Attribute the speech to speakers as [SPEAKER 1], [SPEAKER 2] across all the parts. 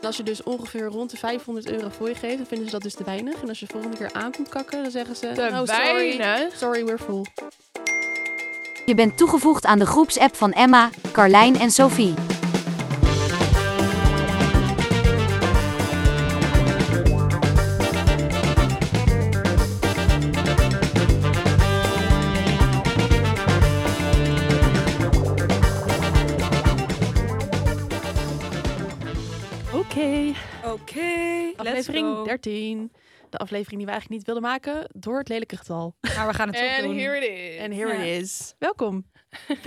[SPEAKER 1] En als je dus ongeveer rond de 500 euro voor je geeft, dan vinden ze dat dus te weinig. En als je de volgende keer aan komt kakken, dan zeggen ze...
[SPEAKER 2] Te
[SPEAKER 1] "Oh, sorry,
[SPEAKER 2] weinig.
[SPEAKER 1] sorry, we're full.
[SPEAKER 3] Je bent toegevoegd aan de groepsapp van Emma, Carlijn en Sophie.
[SPEAKER 1] Oké.
[SPEAKER 4] Oké,
[SPEAKER 1] Aflevering 13. De aflevering die we eigenlijk niet wilden maken door het lelijke getal.
[SPEAKER 4] Maar we gaan het toch
[SPEAKER 2] En
[SPEAKER 4] doen.
[SPEAKER 2] here it is.
[SPEAKER 1] En here
[SPEAKER 4] Ja.
[SPEAKER 1] it is. Welkom.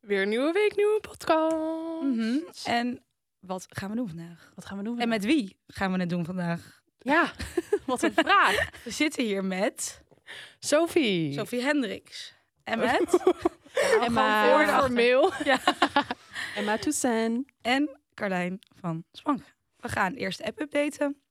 [SPEAKER 2] Weer een nieuwe week, nieuwe podcast.
[SPEAKER 4] Mhm. En wat gaan we doen vandaag?
[SPEAKER 1] Wat gaan we doen?
[SPEAKER 4] En met wie gaan we het doen vandaag?
[SPEAKER 2] Ja, wat een vraag.
[SPEAKER 4] We zitten hier met
[SPEAKER 2] Sophie.
[SPEAKER 4] Sophie Hendricks. En met Emma
[SPEAKER 2] Voor
[SPEAKER 4] Daarachter.
[SPEAKER 2] formeel.
[SPEAKER 1] Emma Toussaint.
[SPEAKER 4] en Carlijn van Spank. We gaan eerst de app updaten.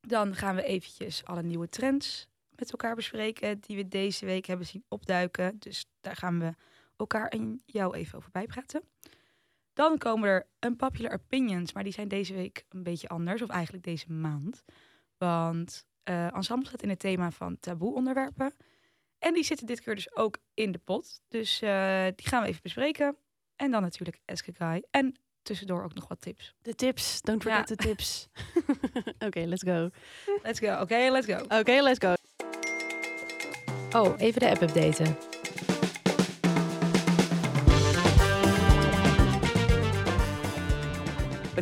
[SPEAKER 4] Dan gaan we eventjes alle nieuwe trends met elkaar bespreken die we deze week hebben zien opduiken. Dus daar gaan we elkaar en jou even over bijpraten. Dan komen er unpopular opinions, maar die zijn deze week een beetje anders, of eigenlijk deze maand. Want eh Ensemble staat in het thema van taboe onderwerpen. En die zitten dit keer dus ook in de pot. Dus eh, die gaan we even bespreken. En dan natuurlijk Ask a Guy. En tussendoor ook nog wat tips.
[SPEAKER 1] De tips. Don't
[SPEAKER 4] Ja.
[SPEAKER 1] forget the tips. Oké, let's go. Oké,
[SPEAKER 4] Let's go, oké, let's go.
[SPEAKER 1] let's go.
[SPEAKER 2] Oh, even de app updaten.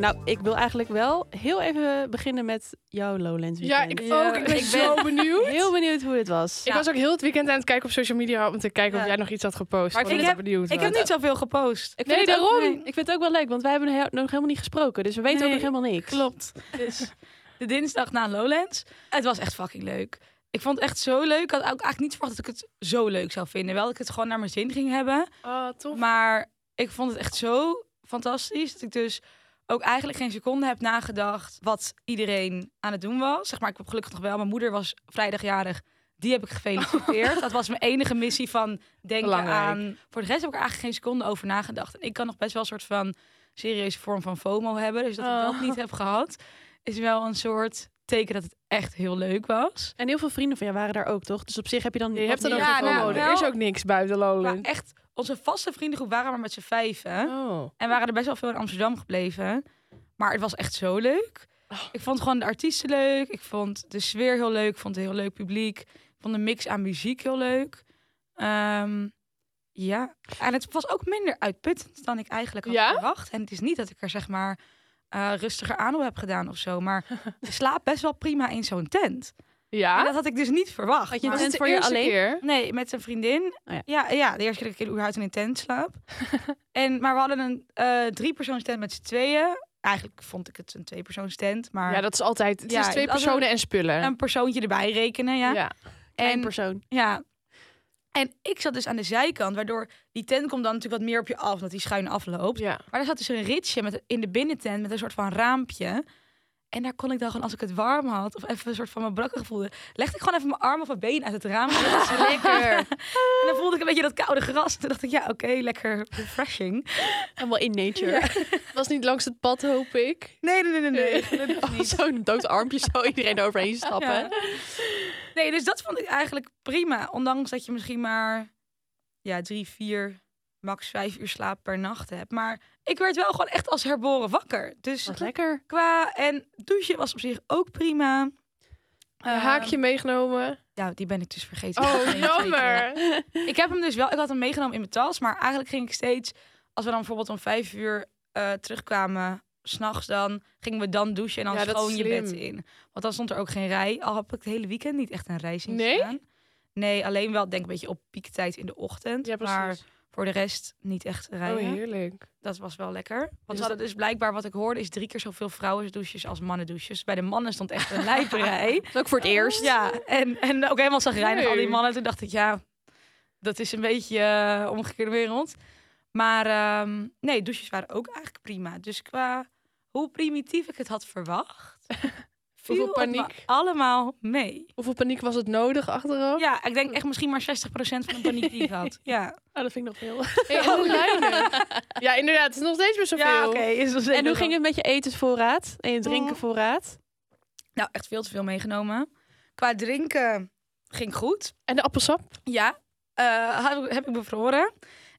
[SPEAKER 1] Nou, ik wil eigenlijk wel heel even beginnen met jouw Lowlands
[SPEAKER 2] Ja,
[SPEAKER 1] weekend.
[SPEAKER 2] ik
[SPEAKER 4] Ja,
[SPEAKER 2] ook. Ik ben
[SPEAKER 4] ik
[SPEAKER 2] zo benieuwd.
[SPEAKER 1] Heel benieuwd hoe het was.
[SPEAKER 2] Ik was ook heel het weekend aan het kijken op social media om te kijken
[SPEAKER 4] Ja.
[SPEAKER 2] of jij nog iets had gepost.
[SPEAKER 4] Maar ik
[SPEAKER 2] want
[SPEAKER 4] vind-
[SPEAKER 2] ben benieuwd.
[SPEAKER 4] Ik
[SPEAKER 2] was.
[SPEAKER 4] heb niet zoveel gepost.
[SPEAKER 1] Ik
[SPEAKER 2] Nee,
[SPEAKER 1] vind het ook-
[SPEAKER 2] daarom.
[SPEAKER 1] Ik vind het ook wel leuk, want wij hebben he- nog helemaal niet gesproken. Dus we weten
[SPEAKER 4] Nee,
[SPEAKER 1] ook nog helemaal niks.
[SPEAKER 4] Klopt. Dus de dinsdag na Lowlands. Het was echt fucking leuk. Ik vond het echt zo leuk. Ik had ook eigenlijk niet verwacht dat ik het zo leuk zou vinden. Wel dat ik het gewoon naar mijn zin ging hebben.
[SPEAKER 2] Ah, tof.
[SPEAKER 4] Maar ik vond het echt zo fantastisch dat ik dus ook eigenlijk geen seconde heb nagedacht wat iedereen aan het doen was. Zeg maar, ik heb gelukkig nog wel. Mijn moeder was vrijdagjarig. Die heb ik gefeliciteerd. Dat was mijn enige missie van denken
[SPEAKER 2] Belangrijk.
[SPEAKER 4] aan. Voor de rest heb ik er eigenlijk geen seconde over nagedacht. En ik kan nog best wel een soort van serieuze vorm van FOMO hebben. Dus dat ik dat
[SPEAKER 2] Oh.
[SPEAKER 4] niet heb gehad, is wel een soort teken dat het echt heel leuk was.
[SPEAKER 1] En heel veel vrienden van jou waren daar ook, toch? Dus op zich heb je dan...
[SPEAKER 2] Je hebt er
[SPEAKER 1] dan
[SPEAKER 2] ook
[SPEAKER 4] Ja,
[SPEAKER 2] geen
[SPEAKER 4] nou,
[SPEAKER 2] FOMO.
[SPEAKER 4] wel.
[SPEAKER 2] Er is ook niks buiten
[SPEAKER 4] Maar
[SPEAKER 2] Lowlands.
[SPEAKER 4] echt, onze vaste vriendengroep waren maar met z'n vijven.
[SPEAKER 2] Oh.
[SPEAKER 4] En waren er best wel veel in Amsterdam gebleven. Maar het was echt zo leuk.
[SPEAKER 2] Oh.
[SPEAKER 4] Ik vond gewoon de artiesten leuk. Ik vond de sfeer heel leuk. Ik vond het heel leuk publiek. Ik vond de mix aan muziek heel leuk. Ehm, ja. En het was ook minder uitputtend dan ik eigenlijk had
[SPEAKER 2] Ja?
[SPEAKER 4] verwacht. En het is niet dat ik er zeg maar eh, rustiger aan op heb gedaan of zo. Maar je slaapt best wel prima in zo'n tent. En
[SPEAKER 2] Ja?
[SPEAKER 4] dat had ik dus niet verwacht.
[SPEAKER 1] Had je
[SPEAKER 4] Maar-
[SPEAKER 1] tent voor je alleen?
[SPEAKER 2] keer?
[SPEAKER 4] Nee, met een vriendin.
[SPEAKER 1] Oh ja.
[SPEAKER 4] ja. Ja, de eerste keer dat ik in überhaupt in een tent slaap. en, maar we hadden een eh driepersoons tent met z'n tweeën. Eigenlijk vond ik het een tweepersoons tent, maar
[SPEAKER 2] Ja, dat is altijd. Het
[SPEAKER 4] Ja,
[SPEAKER 2] is dus twee
[SPEAKER 4] als er-
[SPEAKER 2] personen en spullen.
[SPEAKER 4] een persoontje erbij rekenen, ja.
[SPEAKER 2] ja.
[SPEAKER 1] Eén
[SPEAKER 4] En,
[SPEAKER 1] persoon.
[SPEAKER 4] ja. En ik zat dus aan de zijkant, waardoor die tent komt dan natuurlijk wat meer op je af, omdat die schuin afloopt.
[SPEAKER 2] ja.
[SPEAKER 4] Maar daar zat dus een ritsje met, in de binnentent met een soort van raampje. En daar kon ik dan gewoon, als ik het warm had, of even een soort van mijn brakken voelde, legde ik gewoon even mijn arm of mijn been uit het raam. Dat is lekker. en dan voelde ik een beetje dat koude gras. Toen dacht ik, ja, oké, lekker refreshing.
[SPEAKER 1] Helemaal in nature.
[SPEAKER 2] was niet langs het pad, hoop ik.
[SPEAKER 4] Nee, nee, nee, nee. nee.
[SPEAKER 1] Oh, Zo'n dood armpje, zo iedereen overheen stappen.
[SPEAKER 4] Ja. Nee, dus dat vond ik eigenlijk prima. Ondanks dat je misschien maar ja, drie, vier, max vijf uur slaap per nacht hebt. Maar ik werd wel gewoon echt als herboren wakker. Dus
[SPEAKER 1] Wat lekker.
[SPEAKER 4] qua en douchen was op zich ook prima. Ehm,
[SPEAKER 2] Een haakje meegenomen.
[SPEAKER 4] Ja, die ben ik dus vergeten.
[SPEAKER 2] Ehm. Oh, jammer.
[SPEAKER 4] Ik heb hem dus wel, ik had hem meegenomen in mijn tas, maar eigenlijk ging ik steeds, als we dan bijvoorbeeld om vijf uur eh, terugkwamen, s'nachts dan, gingen we dan douchen en dan
[SPEAKER 2] Ja, dat is
[SPEAKER 4] schoon je bed
[SPEAKER 2] slim.
[SPEAKER 4] in. Want dan stond er ook geen rij, al heb ik het hele weekend niet echt een rij zien
[SPEAKER 2] Nee?
[SPEAKER 4] staan. Nee, alleen wel denk een beetje op piektijd in de ochtend,
[SPEAKER 2] Ja,
[SPEAKER 4] maar
[SPEAKER 2] precies.
[SPEAKER 4] voor de rest niet echt
[SPEAKER 2] Oh,
[SPEAKER 4] rijden.
[SPEAKER 2] heerlijk.
[SPEAKER 4] dat was wel lekker. Want
[SPEAKER 2] Dus
[SPEAKER 4] ze hadden dus blijkbaar, wat ik hoorde, is drie keer zoveel vrouwendouches als mannendouches. Bij de mannen stond echt een lijperij.
[SPEAKER 1] Dat is ook voor het eerst.
[SPEAKER 4] Ja, en, en ook helemaal zagrijnig al die
[SPEAKER 2] Leuk.
[SPEAKER 4] mannen. Toen dacht ik, ja, dat is een beetje eh, omgekeerde wereld. Maar ehm, nee, douches waren ook eigenlijk prima. Dus qua hoe primitief ik het had verwacht, viel
[SPEAKER 2] Hoeveel
[SPEAKER 4] het me
[SPEAKER 2] paniek?
[SPEAKER 4] allemaal mee.
[SPEAKER 2] Hoeveel paniek was het nodig achteraf?
[SPEAKER 4] Ja, ik denk echt misschien maar 60% van de paniek die ik had. Ja,
[SPEAKER 1] Oh, dat vind ik nog veel.
[SPEAKER 2] Hey, hoe weinig. ja, inderdaad. Het is nog steeds weer zoveel.
[SPEAKER 4] ja oké. is wel zeker
[SPEAKER 1] En hoe
[SPEAKER 4] wel.
[SPEAKER 1] ging het met je etensvoorraad en je drinkenvoorraad?
[SPEAKER 4] Nou, echt veel te veel meegenomen. Qua drinken ging goed.
[SPEAKER 2] En de appelsap?
[SPEAKER 4] Ja, eh, had- heb ik bevroren.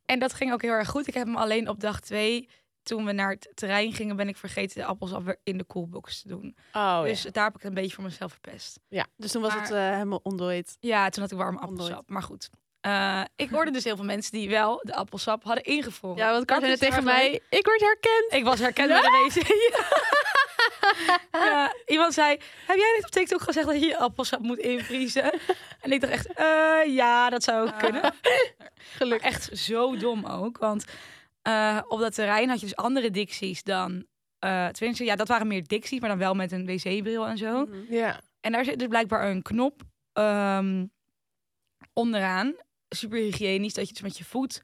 [SPEAKER 4] En dat ging ook heel erg goed. Ik heb hem alleen op dag twee, toen we naar het terrein gingen, ben ik vergeten de appels alweer in de koelbox te doen.
[SPEAKER 2] Oh,
[SPEAKER 4] dus daar heb ik het een beetje voor mezelf verpest.
[SPEAKER 1] Dus toen was
[SPEAKER 4] Maar-
[SPEAKER 1] het eh, helemaal ondooid.
[SPEAKER 4] Ja, toen had ik warme
[SPEAKER 1] Nooit.
[SPEAKER 4] appelsap. Maar goed. Eh, ik hoorde dus heel veel mensen die wel de appelsap hadden ingevroren.
[SPEAKER 1] Ja, want
[SPEAKER 4] Dat
[SPEAKER 1] Kar zei
[SPEAKER 4] is
[SPEAKER 1] net tegen
[SPEAKER 4] waar
[SPEAKER 1] mij, ik word herkend.
[SPEAKER 4] Ik was herkend bij de wc. Ja. Ja, iemand zei, heb jij net op TikTok gezegd dat je je appelsap moet invriezen? En ik dacht echt, eh, ja, dat zou ook kunnen.
[SPEAKER 1] Gelukkig.
[SPEAKER 4] Echt zo dom ook, want eh, op dat terrein had je dus andere dicties dan... eh tenminste, ja, dat waren meer dicties, maar dan wel met een wc-bril en zo.
[SPEAKER 2] Ja.
[SPEAKER 4] En daar zit dus blijkbaar een knop ehm, onderaan. Super hygiënisch, dat je dus met je voet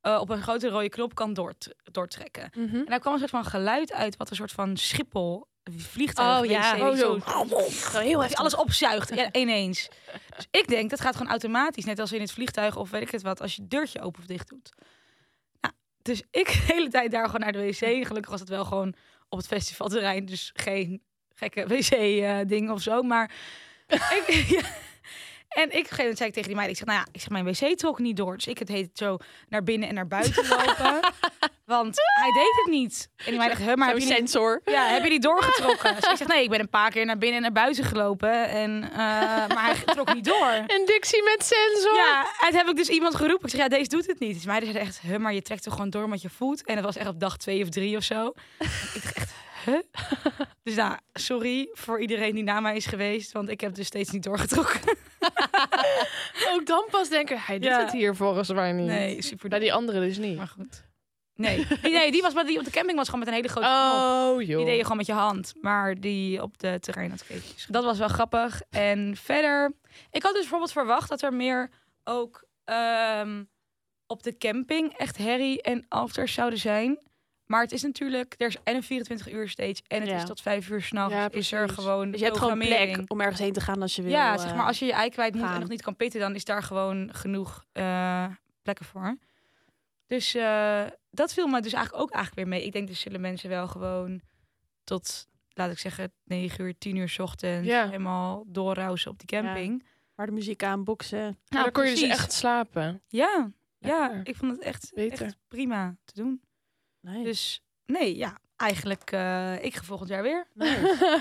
[SPEAKER 4] eh, op een grote rode knop kan doort- doortrekken.
[SPEAKER 1] Mhm.
[SPEAKER 4] En daar kwam een soort van geluid uit, wat een soort van schiphol vliegtuig
[SPEAKER 1] Oh, ja.
[SPEAKER 4] wc,
[SPEAKER 1] Oh,
[SPEAKER 4] zo.
[SPEAKER 1] Heel
[SPEAKER 4] Dat je alles opzuigt ja, ineens. Dus ik denk, dat gaat gewoon automatisch. Net als in het vliegtuig of weet ik het wat, als je het deurtje open of dicht doet. Nou, dus ik de hele tijd daar gewoon naar de wc. Gelukkig was het wel gewoon op het festivalterrein. Dus geen gekke wc-ding of zo. Maar ik... ja. En ik op een gegeven moment zei ik tegen die meid, ik zeg, nou ja, ik zeg, mijn wc trok niet door. Dus ik het heet zo naar binnen en naar buiten lopen. want hij deed het niet. En die meid zegt, "Huh, maar heb je niet
[SPEAKER 1] sensor.
[SPEAKER 4] ja, heb je die doorgetrokken? Dus ik zeg, nee, ik ben een paar keer naar binnen en naar buiten gelopen. En, eh, maar hij trok niet door.
[SPEAKER 2] En Dixie met sensor.
[SPEAKER 4] Ja, en toen heb ik dus iemand geroepen. Ik zeg, ja, deze doet het niet. Dus mij zei echt, huh, maar je trekt toch gewoon door met je voet? En dat was echt op dag twee of drie of zo. ik dacht echt, huh? Dus nou, sorry voor iedereen die na mij is geweest. Want ik heb dus steeds niet doorgetrokken.
[SPEAKER 2] Ook dan pas denken, hij doet
[SPEAKER 4] Ja.
[SPEAKER 2] het hier volgens mij niet.
[SPEAKER 4] Nee, super.
[SPEAKER 2] Bij die andere dus niet.
[SPEAKER 4] Maar goed. Nee, die, nee, die was maar die op de camping was gewoon met een hele grote
[SPEAKER 2] Oh.
[SPEAKER 4] knop. Die deed je gewoon met je hand, maar die op de terrein had keetjes. Dat was wel grappig. En verder, ik had dus bijvoorbeeld verwacht dat er meer ook ehm, op de camping echt herrie en afters zouden zijn. Maar het is natuurlijk, er is en een 24 uur stage en het
[SPEAKER 1] Ja.
[SPEAKER 4] is tot 5 uur s'nachts.
[SPEAKER 1] Ja,
[SPEAKER 4] is er
[SPEAKER 1] precies.
[SPEAKER 4] gewoon
[SPEAKER 1] Dus je hebt gewoon
[SPEAKER 4] programmering.
[SPEAKER 1] plek om ergens heen te gaan als je wil.
[SPEAKER 4] Ja,
[SPEAKER 1] eh,
[SPEAKER 4] zeg maar als je je ei kwijt moet
[SPEAKER 1] gaan.
[SPEAKER 4] en nog niet kan pitten, dan is daar gewoon genoeg eh, plekken voor. Dus eh, dat viel me dus eigenlijk ook eigenlijk weer mee. Ik denk dus zullen mensen wel gewoon tot, laat ik zeggen, 9 uur, 10 uur 's ochtends
[SPEAKER 2] Ja.
[SPEAKER 4] helemaal doorrousen op die camping.
[SPEAKER 1] Waar de muziek aan, boksen.
[SPEAKER 2] Nou, dan kon je dus
[SPEAKER 4] precies.
[SPEAKER 2] echt slapen.
[SPEAKER 4] Ja, ja,
[SPEAKER 2] Lekker.
[SPEAKER 4] ik vond het echt,
[SPEAKER 2] Beter.
[SPEAKER 4] echt prima te doen.
[SPEAKER 1] Nee.
[SPEAKER 4] Dus nee, ja, eigenlijk eh, ik ga volgend jaar weer.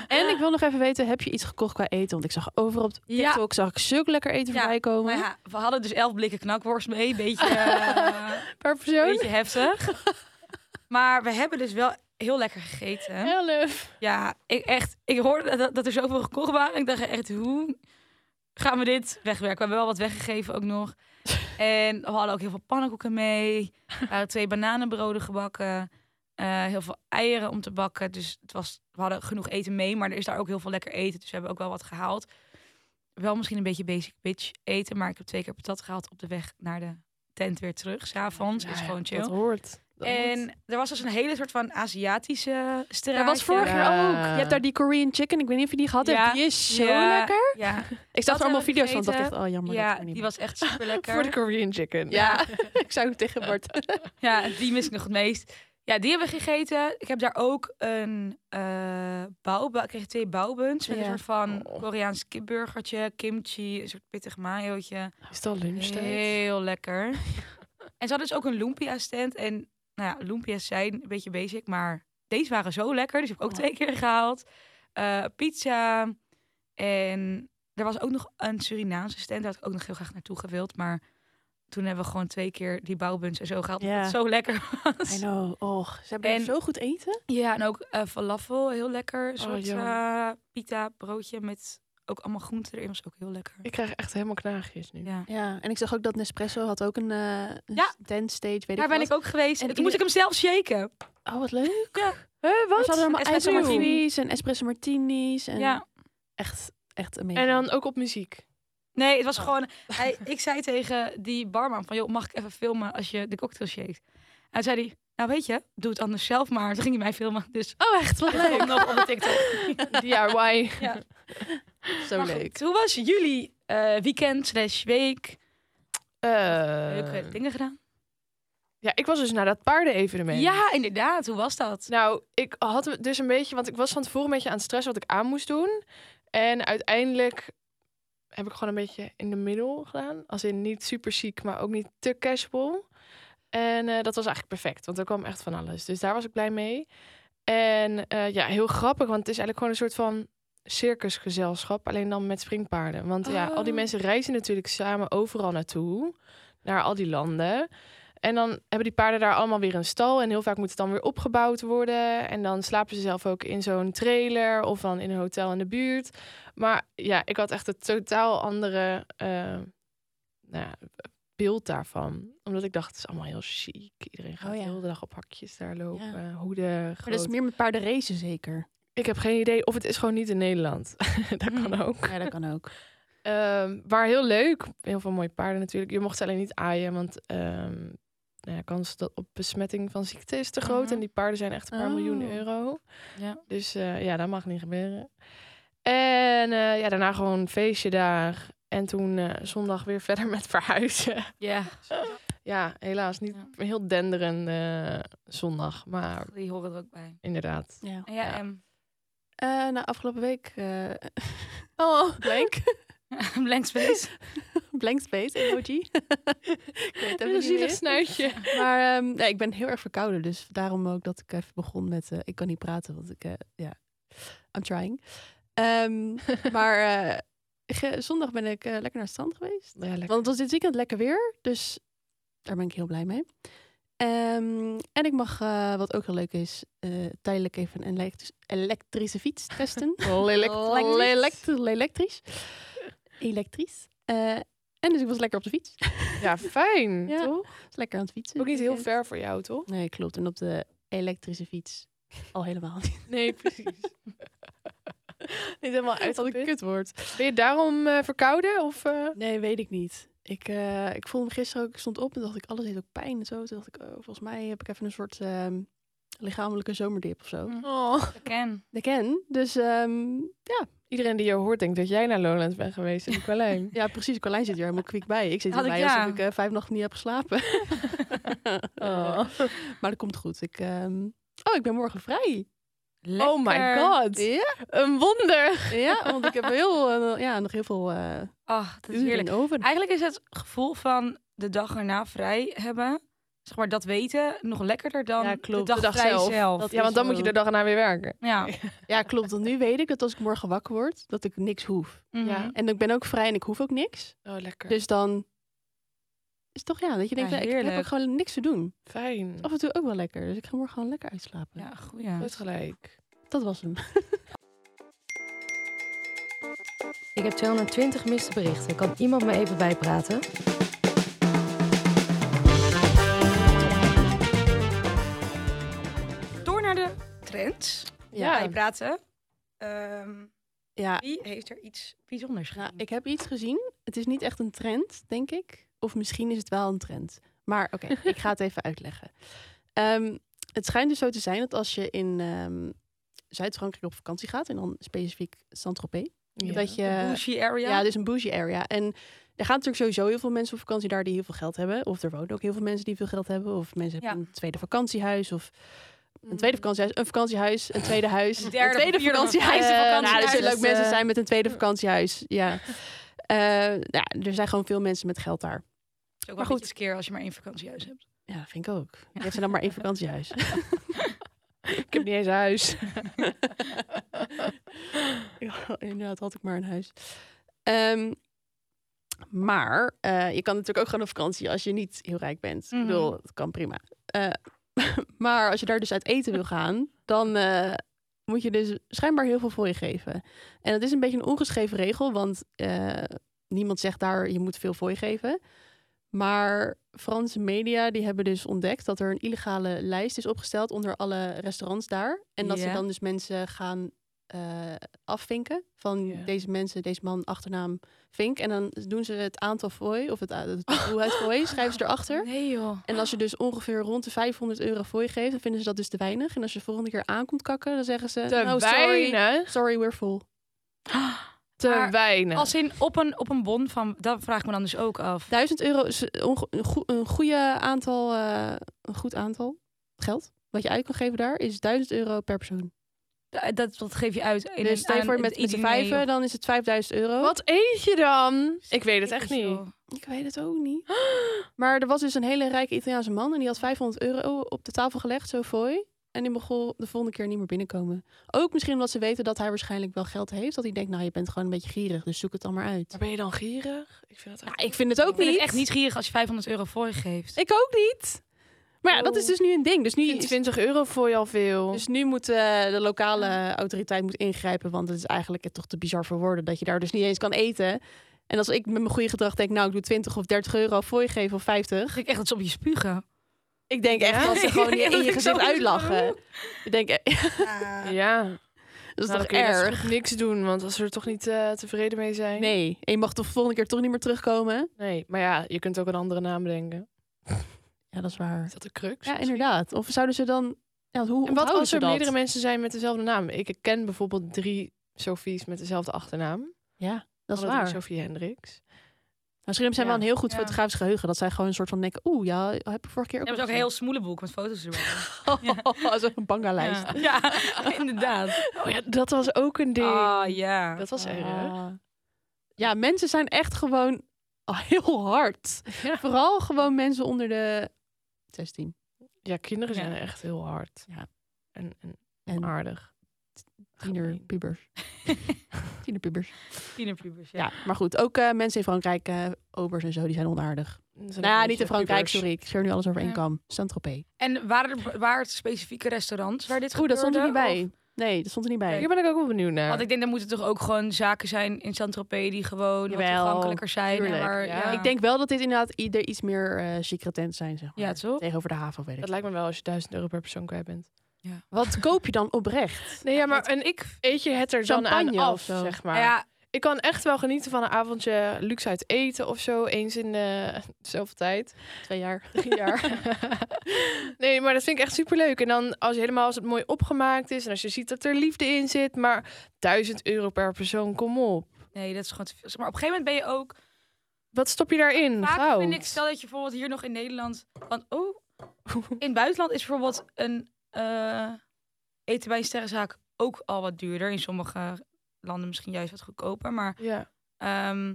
[SPEAKER 1] en ik wil nog even weten, heb je iets gekocht qua eten? Want ik zag overal op
[SPEAKER 4] Ja.
[SPEAKER 1] TikTok zag ik zulk lekker eten
[SPEAKER 4] Ja,
[SPEAKER 1] voorbij komen.
[SPEAKER 4] Maar ja, we hadden dus elf blikken knakworst mee, beetje... eh,
[SPEAKER 2] Per
[SPEAKER 4] Een
[SPEAKER 2] persoon?
[SPEAKER 4] beetje heftig. maar we hebben dus wel heel lekker gegeten.
[SPEAKER 2] Elf.
[SPEAKER 4] Ja, ik echt. Ik hoorde dat, dat er zoveel gekocht waren. Ik dacht echt, hoe gaan we dit wegwerken? We hebben wel wat weggegeven ook nog. En we hadden ook heel veel pannenkoeken mee. Er waren twee bananenbroden gebakken. eh, heel veel eieren om te bakken. Dus het was, we hadden genoeg eten mee. Maar er is daar ook heel veel lekker eten. Dus we hebben ook wel wat gehaald. Wel misschien een beetje basic bitch eten. Maar ik heb twee keer patat gehaald op de weg naar de tent weer terug. S'avonds. is gewoon chill.
[SPEAKER 2] Dat hoort. Dat hoort.
[SPEAKER 4] En er was dus een hele soort van Aziatische straat.
[SPEAKER 1] Dat was vorig jaar
[SPEAKER 2] Ja.
[SPEAKER 1] ook. Je hebt daar die Korean chicken. Ik weet niet of je die gehad hebt.
[SPEAKER 4] Ja.
[SPEAKER 1] Die is zo
[SPEAKER 4] Ja.
[SPEAKER 1] lekker.
[SPEAKER 4] Ja,
[SPEAKER 1] Ik zag
[SPEAKER 4] Dat
[SPEAKER 1] er allemaal
[SPEAKER 4] heb ik
[SPEAKER 1] video's van. dacht echt,
[SPEAKER 4] gegeten.
[SPEAKER 1] oh jammer. dat
[SPEAKER 4] ja
[SPEAKER 1] kan ik niet
[SPEAKER 4] die was echt super
[SPEAKER 2] Voor de
[SPEAKER 4] lekker.
[SPEAKER 2] Korean chicken.
[SPEAKER 4] Ja,
[SPEAKER 1] ik zou hem tegen Bart.
[SPEAKER 4] ja, die mis ik nog het meest. Ja, die hebben we gegeten. Ik heb daar ook een eh bouwba- Ik kreeg twee bouwbuns met
[SPEAKER 1] Ja.
[SPEAKER 4] een soort van
[SPEAKER 2] Oh.
[SPEAKER 4] Koreaans kipburgertje, kimchi, een soort pittig mayootje.
[SPEAKER 2] Is dat lunchtijd?
[SPEAKER 4] Heel lekker. en ze hadden dus ook een lumpia stand. En nou ja, lumpia's zijn een beetje basic, maar deze waren zo lekker. Dus ik heb ook twee keer gehaald. Eh, pizza. En er was ook nog een Surinaamse stand. Daar had ik ook nog heel graag naartoe gewild. Maar toen hebben we gewoon twee keer die bouwbuns en zo gehaald. omdat
[SPEAKER 1] Ja.
[SPEAKER 4] het zo lekker
[SPEAKER 1] I
[SPEAKER 4] was.
[SPEAKER 1] know. Och, ze hebben
[SPEAKER 4] En-
[SPEAKER 1] zo goed eten.
[SPEAKER 4] Ja, en ook eh falafel. Heel lekker. Een
[SPEAKER 2] Oh,
[SPEAKER 4] soort
[SPEAKER 2] yum.
[SPEAKER 4] eh, pita broodje met ook allemaal groenten erin. Was ook heel lekker.
[SPEAKER 2] Ik krijg echt helemaal knaagjes nu.
[SPEAKER 4] Ja.
[SPEAKER 1] Ja, en ik zag ook dat Nespresso had ook een, eh een
[SPEAKER 4] Ja.
[SPEAKER 1] tent stage, weet
[SPEAKER 4] Daar
[SPEAKER 1] ik
[SPEAKER 4] ben ik ook
[SPEAKER 1] En
[SPEAKER 4] geweest. En toen
[SPEAKER 1] in-
[SPEAKER 4] moest ik hem zelf shaken.
[SPEAKER 1] Oh, wat leuk.
[SPEAKER 2] Hé,
[SPEAKER 1] Ze hadden allemaal
[SPEAKER 4] Espresso
[SPEAKER 1] espresso
[SPEAKER 4] martini.
[SPEAKER 1] martinis en espresso martinis. En
[SPEAKER 4] Ja.
[SPEAKER 1] echt, echt amazing.
[SPEAKER 2] En dan ook op muziek.
[SPEAKER 4] Nee, het was
[SPEAKER 2] Oh.
[SPEAKER 4] gewoon. Hij, ik zei tegen die barman van, joh, mag ik even filmen als je de cocktail shakes? En toen zei hij, nou weet je, doe het anders zelf maar. Toen ging hij mij filmen. Dus
[SPEAKER 2] Oh, echt? Wat
[SPEAKER 4] ik
[SPEAKER 2] leuk.
[SPEAKER 4] kom nog op de TikTok.
[SPEAKER 2] DIY.
[SPEAKER 4] Ja.
[SPEAKER 1] Zo
[SPEAKER 4] Maar goed,
[SPEAKER 1] leuk.
[SPEAKER 4] hoe was jullie eh, weekend slash week? Leuke
[SPEAKER 2] Eh,
[SPEAKER 4] dingen gedaan?
[SPEAKER 2] ja, ik was dus naar dat paardenevenement.
[SPEAKER 4] Ja, inderdaad. Hoe was dat?
[SPEAKER 2] Nou, ik had het dus een beetje, want ik was van tevoren een beetje aan het stressen wat ik aan moest doen. En uiteindelijk heb ik gewoon een beetje in de middel gedaan. Als in niet super ziek, maar ook niet te casual. En eh, dat was eigenlijk perfect, want er kwam echt van alles. Dus daar was ik blij mee. En eh, ja, heel grappig, want het is eigenlijk gewoon een soort van circusgezelschap, alleen dan met springpaarden. Want ja, al die
[SPEAKER 4] Oh.
[SPEAKER 2] mensen reizen natuurlijk samen overal naartoe, naar al die landen. En dan hebben die paarden daar allemaal weer een stal. En heel vaak moet het dan weer opgebouwd worden. En dan slapen ze zelf ook in zo'n trailer of dan in een hotel in de buurt. Maar ja, ik had echt een totaal andere eh, nou ja, beeld daarvan. Omdat ik dacht, het is allemaal heel chic. Iedereen gaat
[SPEAKER 1] Oh ja.
[SPEAKER 2] heel de hele dag op hakjes daar lopen. Hoeden,
[SPEAKER 1] Maar dat is
[SPEAKER 2] groot.
[SPEAKER 1] meer met paarden racen zeker.
[SPEAKER 2] Ik heb geen idee of het is gewoon niet in Nederland. dat kan ook.
[SPEAKER 1] Hmm. Ja, dat kan ook.
[SPEAKER 2] Ehm, maar heel leuk. Heel veel mooie paarden natuurlijk. Je mocht ze alleen niet aaien, want ehm nou ja, kans dat op besmetting van ziekte is te groot.
[SPEAKER 4] Mhm.
[SPEAKER 2] En die paarden zijn echt een paar
[SPEAKER 1] Oh.
[SPEAKER 2] miljoen euro.
[SPEAKER 4] Ja.
[SPEAKER 2] Dus eh, ja, dat mag niet gebeuren. En eh, ja, daarna gewoon een feestje daar. En toen eh, zondag weer verder met verhuizen.
[SPEAKER 4] Ja,
[SPEAKER 2] ja, helaas niet een heel denderende zondag. Maar
[SPEAKER 4] die horen er ook bij.
[SPEAKER 2] inderdaad.
[SPEAKER 1] Ja.
[SPEAKER 4] En jij,
[SPEAKER 2] Ja.
[SPEAKER 4] Em?
[SPEAKER 1] Eh, nou, afgelopen week... eh, oh, blank.
[SPEAKER 4] Blank space.
[SPEAKER 1] blank space emoji. ik weet het even niet
[SPEAKER 2] Een
[SPEAKER 1] meer.
[SPEAKER 2] zielig snuitje.
[SPEAKER 1] Maar ehm, nee, ik ben heel erg verkouden, dus daarom ook dat ik even begon met eh, ik kan niet praten, want ik, eh, ja, I'm trying. Ehm, maar eh, ge- zondag ben ik eh, lekker naar het strand geweest.
[SPEAKER 2] Ja, lekker.
[SPEAKER 1] Want het was dit weekend lekker weer, dus daar ben ik heel blij mee. Ehm, en ik mag, eh, wat ook heel leuk is, eh, tijdelijk even een elektris- elektrische fiets testen.
[SPEAKER 2] Lelijk.
[SPEAKER 1] Lelekt-
[SPEAKER 2] Lelijk.
[SPEAKER 1] Elektrisch. Elektrisch. Eh, en dus ik was lekker op de fiets.
[SPEAKER 2] Ja, fijn.
[SPEAKER 1] Ja.
[SPEAKER 2] Toch?
[SPEAKER 1] was lekker aan het fietsen.
[SPEAKER 2] Ook niet heel
[SPEAKER 1] En-
[SPEAKER 2] ver voor jou, toch?
[SPEAKER 1] Nee, klopt. En op de elektrische fiets al helemaal niet.
[SPEAKER 2] Nee, precies. Niet helemaal
[SPEAKER 1] Wat een
[SPEAKER 2] uitgeput.
[SPEAKER 1] kutwoord.
[SPEAKER 2] Ben je daarom eh, verkouden? Of, eh?
[SPEAKER 1] Nee, weet ik niet. Ik, eh, ik voelde me gisteren ook, ik stond op en dacht ik, alles deed ook pijn en zo. Toen dacht ik, oh, volgens mij heb ik even een soort ehm, lichamelijke zomerdip of zo.
[SPEAKER 4] Mm.
[SPEAKER 2] Oh.
[SPEAKER 4] Ik ken.
[SPEAKER 1] Ik ken. Dus ehm, ja.
[SPEAKER 2] Iedereen die je hoort denkt dat jij naar Lowlands bent geweest in de Kwalijn.
[SPEAKER 1] ja, precies. Carlijn zit hier helemaal kwiek bij. Ik zit
[SPEAKER 4] Had ik,
[SPEAKER 1] hierbij
[SPEAKER 4] ja.
[SPEAKER 1] alsof ik eh, vijf nachten niet heb geslapen.
[SPEAKER 2] Oh.
[SPEAKER 1] Maar dat komt goed. Ik, ehm, oh, ik ben morgen vrij.
[SPEAKER 2] oh my
[SPEAKER 4] Lekker.
[SPEAKER 2] god.
[SPEAKER 1] Ja,
[SPEAKER 2] Een wonder.
[SPEAKER 1] ja want ik heb heel, eh, ja, nog heel veel eh
[SPEAKER 4] Ach, dat is
[SPEAKER 1] uren
[SPEAKER 4] heerlijk.
[SPEAKER 1] in de oven.
[SPEAKER 4] Eigenlijk is het gevoel van de dag erna vrij hebben, zeg maar dat weten, nog lekkerder dan
[SPEAKER 1] Ja,
[SPEAKER 4] de
[SPEAKER 1] klopt.
[SPEAKER 4] dag,
[SPEAKER 2] De dag
[SPEAKER 4] vrij zelf.
[SPEAKER 2] zelf.
[SPEAKER 1] Dat
[SPEAKER 2] Ja, want
[SPEAKER 1] is
[SPEAKER 2] dan moet je
[SPEAKER 1] zo.
[SPEAKER 2] de dag erna weer werken.
[SPEAKER 4] Ja.
[SPEAKER 1] Ja, klopt. Want nu weet ik dat als ik morgen wakker word, dat ik niks hoef.
[SPEAKER 4] Mhm.
[SPEAKER 2] Ja.
[SPEAKER 1] En ik ben ook vrij en ik hoef ook niks.
[SPEAKER 2] Oh, lekker.
[SPEAKER 1] Dus dan is het toch ja, dat je denkt,
[SPEAKER 4] Ja,
[SPEAKER 1] ja, ik heb
[SPEAKER 4] heerlijk.
[SPEAKER 1] ook gewoon niks te doen.
[SPEAKER 2] fijn.
[SPEAKER 1] Af en toe ook wel lekker. Dus ik ga morgen gewoon lekker uitslapen.
[SPEAKER 4] Ja, goed ja.
[SPEAKER 2] Goed gelijk.
[SPEAKER 1] Dat was hem.
[SPEAKER 5] Ik heb 220 miste berichten. Kan iemand me even bijpraten?
[SPEAKER 4] Door naar de trends.
[SPEAKER 2] Ja.
[SPEAKER 4] Wij praten. Ehm,
[SPEAKER 1] Ja,
[SPEAKER 4] wie heeft er iets bijzonders
[SPEAKER 1] nou,
[SPEAKER 4] gedaan?
[SPEAKER 1] ik heb iets gezien. Het is niet echt een trend, denk ik. Of misschien is het wel een trend. Maar oké, ik ga het even uitleggen. Ehm, het schijnt dus zo te zijn dat als je in ehm, Zuid-Frankrijk op vakantie gaat... en dan specifiek Saint-Tropez...
[SPEAKER 2] Ja.
[SPEAKER 1] dat je...
[SPEAKER 4] De bougie area.
[SPEAKER 1] eh, Ja, dus een bougie area. En er gaan natuurlijk sowieso heel veel mensen op vakantie daar die heel veel geld hebben. Of er wonen ook heel veel mensen die veel geld hebben. Of mensen
[SPEAKER 4] Ja. Mm.
[SPEAKER 1] hebben een tweede vakantiehuis. Of
[SPEAKER 2] Mm.
[SPEAKER 1] een tweede vakantiehuis, een vakantiehuis, een tweede huis.
[SPEAKER 4] Een derde,
[SPEAKER 1] tweede
[SPEAKER 4] vierde,
[SPEAKER 1] vakantiehuis.
[SPEAKER 4] vijfde
[SPEAKER 1] Eh, Nou, er
[SPEAKER 4] vakantiehuis.
[SPEAKER 1] zullen ook
[SPEAKER 4] Dus,
[SPEAKER 1] mensen
[SPEAKER 4] eh,
[SPEAKER 1] zijn met een tweede vakantiehuis. Ja. Eh, nou, er zijn gewoon veel mensen met geld daar.
[SPEAKER 4] Is ook wel
[SPEAKER 1] maar
[SPEAKER 4] goed.
[SPEAKER 1] goed.
[SPEAKER 4] Een keer als je maar één vakantiehuis hebt.
[SPEAKER 1] Ja, dat vind ik ook. Je hebt ze dan maar één vakantiehuis.
[SPEAKER 2] Ik heb niet eens een huis.
[SPEAKER 1] Ja, inderdaad, had ik maar een huis. Ehm, maar eh, je kan natuurlijk ook gewoon op vakantie als je niet heel rijk bent.
[SPEAKER 4] Mhm.
[SPEAKER 1] Ik bedoel, dat kan prima. Eh, maar als je daar dus uit eten wil gaan, dan eh, moet je dus schijnbaar heel veel voor je geven. En dat is een beetje een ongeschreven regel, want eh, niemand zegt daar je moet veel voor je geven. Maar Franse media die hebben dus ontdekt dat er een illegale lijst is opgesteld onder alle restaurants daar. En dat ze
[SPEAKER 4] Ja.
[SPEAKER 1] dan dus mensen gaan eh, eh, afvinken. Van
[SPEAKER 2] Ja.
[SPEAKER 1] deze mensen, deze man, achternaam Vink. En dan doen ze het aantal fooi, of het, a- het hoeveelheid fooi, schrijven ze erachter.
[SPEAKER 2] Nee joh.
[SPEAKER 1] En als je dus ongeveer rond de 500 euro fooi geeft, dan vinden ze dat dus te weinig. En als je de volgende keer aankomt kakken, dan zeggen ze...
[SPEAKER 2] Te
[SPEAKER 1] nou, sorry,
[SPEAKER 2] weinig.
[SPEAKER 1] sorry, we're full.
[SPEAKER 2] Te
[SPEAKER 4] Maar
[SPEAKER 2] weinig.
[SPEAKER 4] Als in op een, op een bon van, dat vraag ik me dan dus ook af.
[SPEAKER 1] 1000 euro is onge- een, goe- een goede aantal, eh, een goed aantal geld. Wat je uit kan geven daar is 1000 euro per persoon.
[SPEAKER 4] Da- Dat, dat geef je uit. In
[SPEAKER 1] dus stel je
[SPEAKER 4] aan
[SPEAKER 1] voor
[SPEAKER 4] het-
[SPEAKER 1] met, met z'n
[SPEAKER 4] diner
[SPEAKER 1] vijven,
[SPEAKER 4] of-
[SPEAKER 1] dan is het 5000 euro.
[SPEAKER 2] Wat eet je dan? Ik weet het echt
[SPEAKER 4] Jezus,
[SPEAKER 2] niet.
[SPEAKER 4] joh.
[SPEAKER 1] Ik weet het ook niet. Maar er was dus een hele rijke Italiaanse man en die had 500 euro op de tafel gelegd, zo fooi. En die mocht de volgende keer niet meer binnenkomen. Ook misschien omdat ze weten dat hij waarschijnlijk wel geld heeft. Dat hij denkt, nou je bent gewoon een beetje gierig, dus zoek het dan maar uit.
[SPEAKER 2] Maar ben je dan gierig? Ik vind dat
[SPEAKER 1] Nou,
[SPEAKER 2] echt...
[SPEAKER 1] ik vind het ook
[SPEAKER 4] Ik vind
[SPEAKER 1] niet.
[SPEAKER 4] het echt niet gierig als je 500 euro voor je geeft.
[SPEAKER 1] Ik ook niet. Maar ja, dat is dus nu een ding. Dus nu,
[SPEAKER 2] Ik vind 20 euro voor je al veel.
[SPEAKER 1] Dus nu moet eh, de lokale autoriteit moet ingrijpen. Want het is eigenlijk toch te bizar voor woorden dat je daar dus niet eens kan eten. En als ik met mijn goede gedrag denk, nou ik doe 20 of 30 euro voor je geven of 50.
[SPEAKER 4] Ga ik echt dat ze op je spugen?
[SPEAKER 1] Ik denk echt
[SPEAKER 2] Ja?
[SPEAKER 1] dat ze gewoon je
[SPEAKER 4] Ja,
[SPEAKER 1] in
[SPEAKER 4] dat
[SPEAKER 1] je
[SPEAKER 4] ik
[SPEAKER 1] gezicht
[SPEAKER 4] zo-
[SPEAKER 1] uitlachen. Ik denk, eh,
[SPEAKER 2] ja.
[SPEAKER 1] dat is
[SPEAKER 2] Nou, dan
[SPEAKER 1] toch
[SPEAKER 2] kun je net zo
[SPEAKER 1] erg?
[SPEAKER 2] goed niks doen, want als ze er toch niet eh, tevreden mee zijn.
[SPEAKER 1] Nee, en je mag toch de volgende keer toch niet meer terugkomen?
[SPEAKER 2] Nee, Maar ja, je kunt ook een andere naam denken.
[SPEAKER 1] Ja, dat is waar.
[SPEAKER 2] Is dat de crux?
[SPEAKER 1] Ja, inderdaad. Of zouden ze dan... Ja, hoe
[SPEAKER 2] En wat
[SPEAKER 1] onthouden
[SPEAKER 2] als
[SPEAKER 1] ze
[SPEAKER 2] er
[SPEAKER 1] dat?
[SPEAKER 2] meerdere mensen zijn met dezelfde naam? Ik ken bijvoorbeeld drie Sofies met dezelfde achternaam.
[SPEAKER 1] Ja, dat is
[SPEAKER 2] Alle drie
[SPEAKER 1] waar. Nou,
[SPEAKER 2] Sofie Hendricks.
[SPEAKER 1] Misschien hebben zij wel
[SPEAKER 4] Ja.
[SPEAKER 1] een heel goed
[SPEAKER 4] Ja.
[SPEAKER 1] fotografisch geheugen. Dat zij gewoon een soort van denken... Oeh, ja, heb ik vorige keer ook...
[SPEAKER 4] hebben ze ook een heel smoelenboek met foto's erbij.
[SPEAKER 1] heel... Zo'n bangalijst.
[SPEAKER 4] Ja. ja, inderdaad.
[SPEAKER 2] Oh ja, dat was ook een ding.
[SPEAKER 4] Ah, ja.
[SPEAKER 2] dat was erg.
[SPEAKER 1] Ah. Ja, mensen zijn echt gewoon heel hard.
[SPEAKER 2] Ja.
[SPEAKER 1] Vooral gewoon mensen onder de 16.
[SPEAKER 2] Ja, kinderen zijn
[SPEAKER 4] Ja.
[SPEAKER 2] echt heel hard.
[SPEAKER 1] Ja.
[SPEAKER 2] En, en
[SPEAKER 1] En
[SPEAKER 2] aardig. Gemeen.
[SPEAKER 1] tienerpubers. tienerpubers.
[SPEAKER 4] Tienerpubers, ja.
[SPEAKER 1] Ja. maar goed. Ook eh, mensen in Frankrijk, eh, obers en zo, die zijn onaardig.
[SPEAKER 2] Zijn
[SPEAKER 1] Nou, ja,
[SPEAKER 2] een
[SPEAKER 1] niet
[SPEAKER 2] beetje
[SPEAKER 1] in Frankrijk,
[SPEAKER 2] pubers.
[SPEAKER 1] sorry. Ik scheur nu alles over één
[SPEAKER 4] Ja.
[SPEAKER 1] kam. Saint-Tropez.
[SPEAKER 4] En waren er waren het specifieke restaurants waar dit
[SPEAKER 1] Oeh, dat stond er niet
[SPEAKER 4] gebeurde,
[SPEAKER 1] bij. Nee, dat stond er niet bij.
[SPEAKER 2] Hier ben ik ook wel benieuwd naar.
[SPEAKER 4] Want ik denk, er moeten toch ook gewoon zaken zijn in Saint-Tropez die gewoon wat
[SPEAKER 1] Jawel,
[SPEAKER 4] toegankelijker zijn. en
[SPEAKER 1] tuurlijk,
[SPEAKER 4] waar-
[SPEAKER 2] ja.
[SPEAKER 4] ja.
[SPEAKER 1] Ik denk wel dat dit inderdaad ieder iets meer eh chique tent zijn, zeg maar.
[SPEAKER 4] Ja, toch?
[SPEAKER 1] Tegenover de haven, weet ik.
[SPEAKER 2] Dat lijkt me wel als je 1000 euro per persoon kwijt bent.
[SPEAKER 1] Wat koop je dan oprecht?
[SPEAKER 2] Nee, ja, maar
[SPEAKER 4] dat-
[SPEAKER 2] en ik eet je het er dan aan
[SPEAKER 1] Champagne
[SPEAKER 2] af,
[SPEAKER 1] of zo.
[SPEAKER 2] zeg maar.
[SPEAKER 4] Nou ja,
[SPEAKER 2] Ik kan echt wel genieten van een avondje luxe uit eten of zo. Eens in eh zoveel tijd.
[SPEAKER 1] Twee jaar.
[SPEAKER 2] Drie jaar. nee, maar dat vind ik echt superleuk. En dan als je helemaal als het mooi opgemaakt is en als je ziet dat er liefde in zit. Maar 1000 euro per persoon, kom op.
[SPEAKER 4] nee, dat is gewoon te veel. Maar op een gegeven moment ben je ook...
[SPEAKER 2] Wat stop je daarin?
[SPEAKER 4] Vaak
[SPEAKER 2] Goud.
[SPEAKER 4] vind ik, stel dat je bijvoorbeeld hier nog in Nederland... Van, oh, in het buitenland is bijvoorbeeld een eh, eten bij een sterrenzaak ook al wat duurder. In sommige landen misschien juist wat goedkoper. Maar
[SPEAKER 2] Ja.
[SPEAKER 4] Ehm,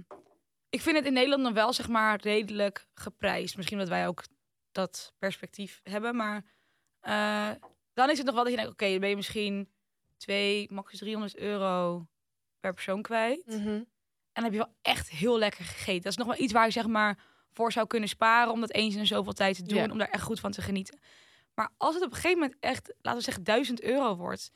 [SPEAKER 4] ik vind het in Nederland dan wel zeg maar redelijk geprijsd. Misschien dat wij ook dat perspectief hebben, maar eh, dan is het nog wel dat je denkt: oké, dan ben je misschien 2, max 300 euro per persoon kwijt.
[SPEAKER 2] Mhm.
[SPEAKER 4] En dan heb je wel echt heel lekker gegeten. Dat is nog wel iets waar je zeg maar voor zou kunnen sparen om dat eens in zoveel tijd te doen,
[SPEAKER 2] Ja.
[SPEAKER 4] om daar echt goed van te genieten. Maar als het op een gegeven moment echt, laten we zeggen, 1000 euro wordt,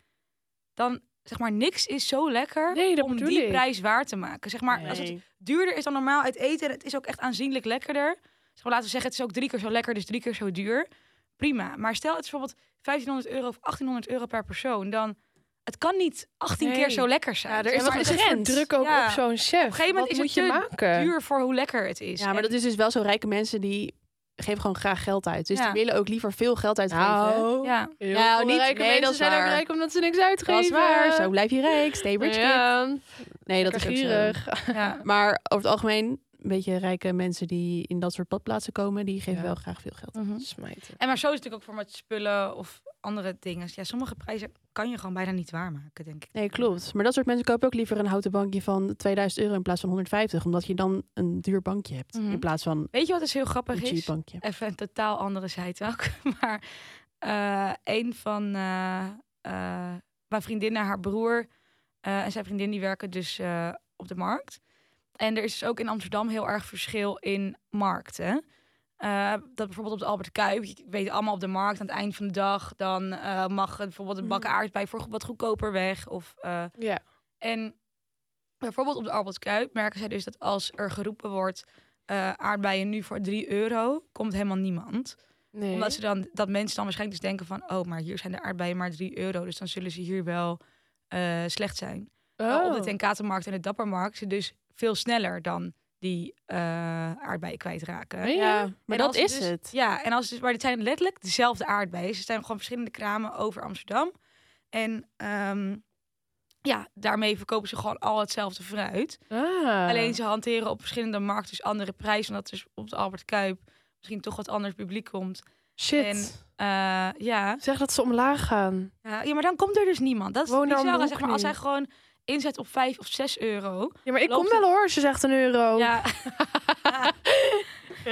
[SPEAKER 4] dan zeg maar niks is zo lekker
[SPEAKER 2] Nee, dat
[SPEAKER 4] om
[SPEAKER 2] bedoel
[SPEAKER 4] die
[SPEAKER 2] ik.
[SPEAKER 4] prijs waar te maken. Zeg maar, als het duurder is dan normaal uit eten. en Het is ook echt aanzienlijk lekkerder. Zeg maar, laten we zeggen, het is ook drie keer zo lekker, dus drie keer zo duur. Prima. Maar stel, het is bijvoorbeeld 1500 euro of 1800 euro per persoon. Dan, het kan niet 18
[SPEAKER 2] Nee.
[SPEAKER 4] keer zo lekker zijn.
[SPEAKER 1] Ja, er
[SPEAKER 4] Zeg
[SPEAKER 1] is
[SPEAKER 4] maar,
[SPEAKER 1] toch
[SPEAKER 4] het
[SPEAKER 1] een
[SPEAKER 4] is
[SPEAKER 1] grens.
[SPEAKER 2] Druk ook
[SPEAKER 4] Ja.
[SPEAKER 2] op zo'n chef.
[SPEAKER 4] Op een gegeven moment
[SPEAKER 2] Wat
[SPEAKER 4] is
[SPEAKER 2] moet
[SPEAKER 4] het
[SPEAKER 2] je
[SPEAKER 4] te
[SPEAKER 2] maken?
[SPEAKER 4] duur voor hoe lekker het is.
[SPEAKER 1] Eh, Ja, maar
[SPEAKER 4] En-
[SPEAKER 1] dat is dus wel zo rijke mensen die geven gewoon graag geld uit. Dus die
[SPEAKER 4] Ja.
[SPEAKER 1] willen ook liever veel geld uitgeven.
[SPEAKER 2] Nou,
[SPEAKER 4] ja.
[SPEAKER 2] heel
[SPEAKER 1] Nou,
[SPEAKER 2] veel
[SPEAKER 1] niet-
[SPEAKER 2] rijke
[SPEAKER 1] nee,
[SPEAKER 2] mensen
[SPEAKER 1] dat is
[SPEAKER 2] zijn
[SPEAKER 1] waar.
[SPEAKER 2] ook rijk omdat ze niks
[SPEAKER 1] Dat
[SPEAKER 2] uitgeven.
[SPEAKER 1] is waar. Zo blijf je rijk. Stay rich kid.
[SPEAKER 2] ja.
[SPEAKER 1] Nee, dat is
[SPEAKER 2] Lekker
[SPEAKER 1] ook zo.
[SPEAKER 2] gierig.
[SPEAKER 4] ja.
[SPEAKER 1] Maar over het algemeen, een beetje rijke mensen die in dat soort badplaatsen komen, die geven
[SPEAKER 2] Ja.
[SPEAKER 1] wel graag veel geld.
[SPEAKER 2] Smijten.
[SPEAKER 4] En maar zo is het natuurlijk ook voor met spullen of andere dingen. Ja, sommige prijzen kan je gewoon bijna niet waarmaken, denk ik.
[SPEAKER 1] Nee, klopt. Maar dat soort mensen kopen ook liever een houten bankje van 2000 euro in plaats van 150. Omdat je dan een duur bankje hebt.
[SPEAKER 4] Mhm.
[SPEAKER 1] In plaats van
[SPEAKER 4] Weet je wat dus heel
[SPEAKER 1] een
[SPEAKER 4] grappig
[SPEAKER 1] cheap
[SPEAKER 4] is?
[SPEAKER 1] bankje.
[SPEAKER 4] Even een totaal andere zijde ook. Maar eh, een van eh, eh, mijn vriendinnen, haar broer eh, en zijn vriendin, die werken dus eh, op de markt. En er is dus ook in Amsterdam heel erg verschil in markten. Eh, dat bijvoorbeeld op de Albert Kuip, je weet allemaal op de markt aan het eind van de dag, dan eh, mag het bijvoorbeeld een bak
[SPEAKER 2] Mhm.
[SPEAKER 4] aardbei voor wat goedkoper weg. Of, eh,
[SPEAKER 2] Ja.
[SPEAKER 4] en bijvoorbeeld op de Albert Kuip merken zij dus dat als er geroepen wordt... eh, aardbeien nu voor 3 euro, komt helemaal niemand.
[SPEAKER 2] Nee.
[SPEAKER 4] Omdat ze dan, dat mensen dan waarschijnlijk dus denken van... oh, maar hier zijn de aardbeien maar 3 euro, dus dan zullen ze hier wel eh, slecht zijn.
[SPEAKER 2] Oh.
[SPEAKER 4] Wel Op de Tenkatenmarkt en de Dappermarkt ze dus veel sneller dan die eh aardbeien kwijtraken.
[SPEAKER 2] Meen je?
[SPEAKER 1] Oh Ja, maar
[SPEAKER 4] En
[SPEAKER 1] dat
[SPEAKER 4] als
[SPEAKER 1] is
[SPEAKER 4] het dus-
[SPEAKER 1] het.
[SPEAKER 4] Ja, en als, dus- maar het zijn letterlijk dezelfde aardbeien. Ze zijn gewoon verschillende kramen over Amsterdam. En ehm, ja, daarmee verkopen ze gewoon al hetzelfde fruit.
[SPEAKER 2] Ah.
[SPEAKER 4] Alleen ze hanteren op verschillende markten dus andere prijzen. Omdat dus op de Albert Kuip misschien toch wat anders publiek komt.
[SPEAKER 2] Shit.
[SPEAKER 4] en- Eh, ja.
[SPEAKER 2] Zeg dat ze omlaag gaan.
[SPEAKER 4] ja. Ja, maar dan komt er dus niemand. Dat is
[SPEAKER 2] Woon daar om de
[SPEAKER 4] bizar.
[SPEAKER 2] hoek
[SPEAKER 4] Zeg maar, als
[SPEAKER 2] nu.
[SPEAKER 4] hij gewoon inzet op 5 of 6 euro.
[SPEAKER 2] Ja, maar ik
[SPEAKER 4] Loopt
[SPEAKER 2] kom wel hoor, als je zegt een euro.
[SPEAKER 4] Ja. Oh.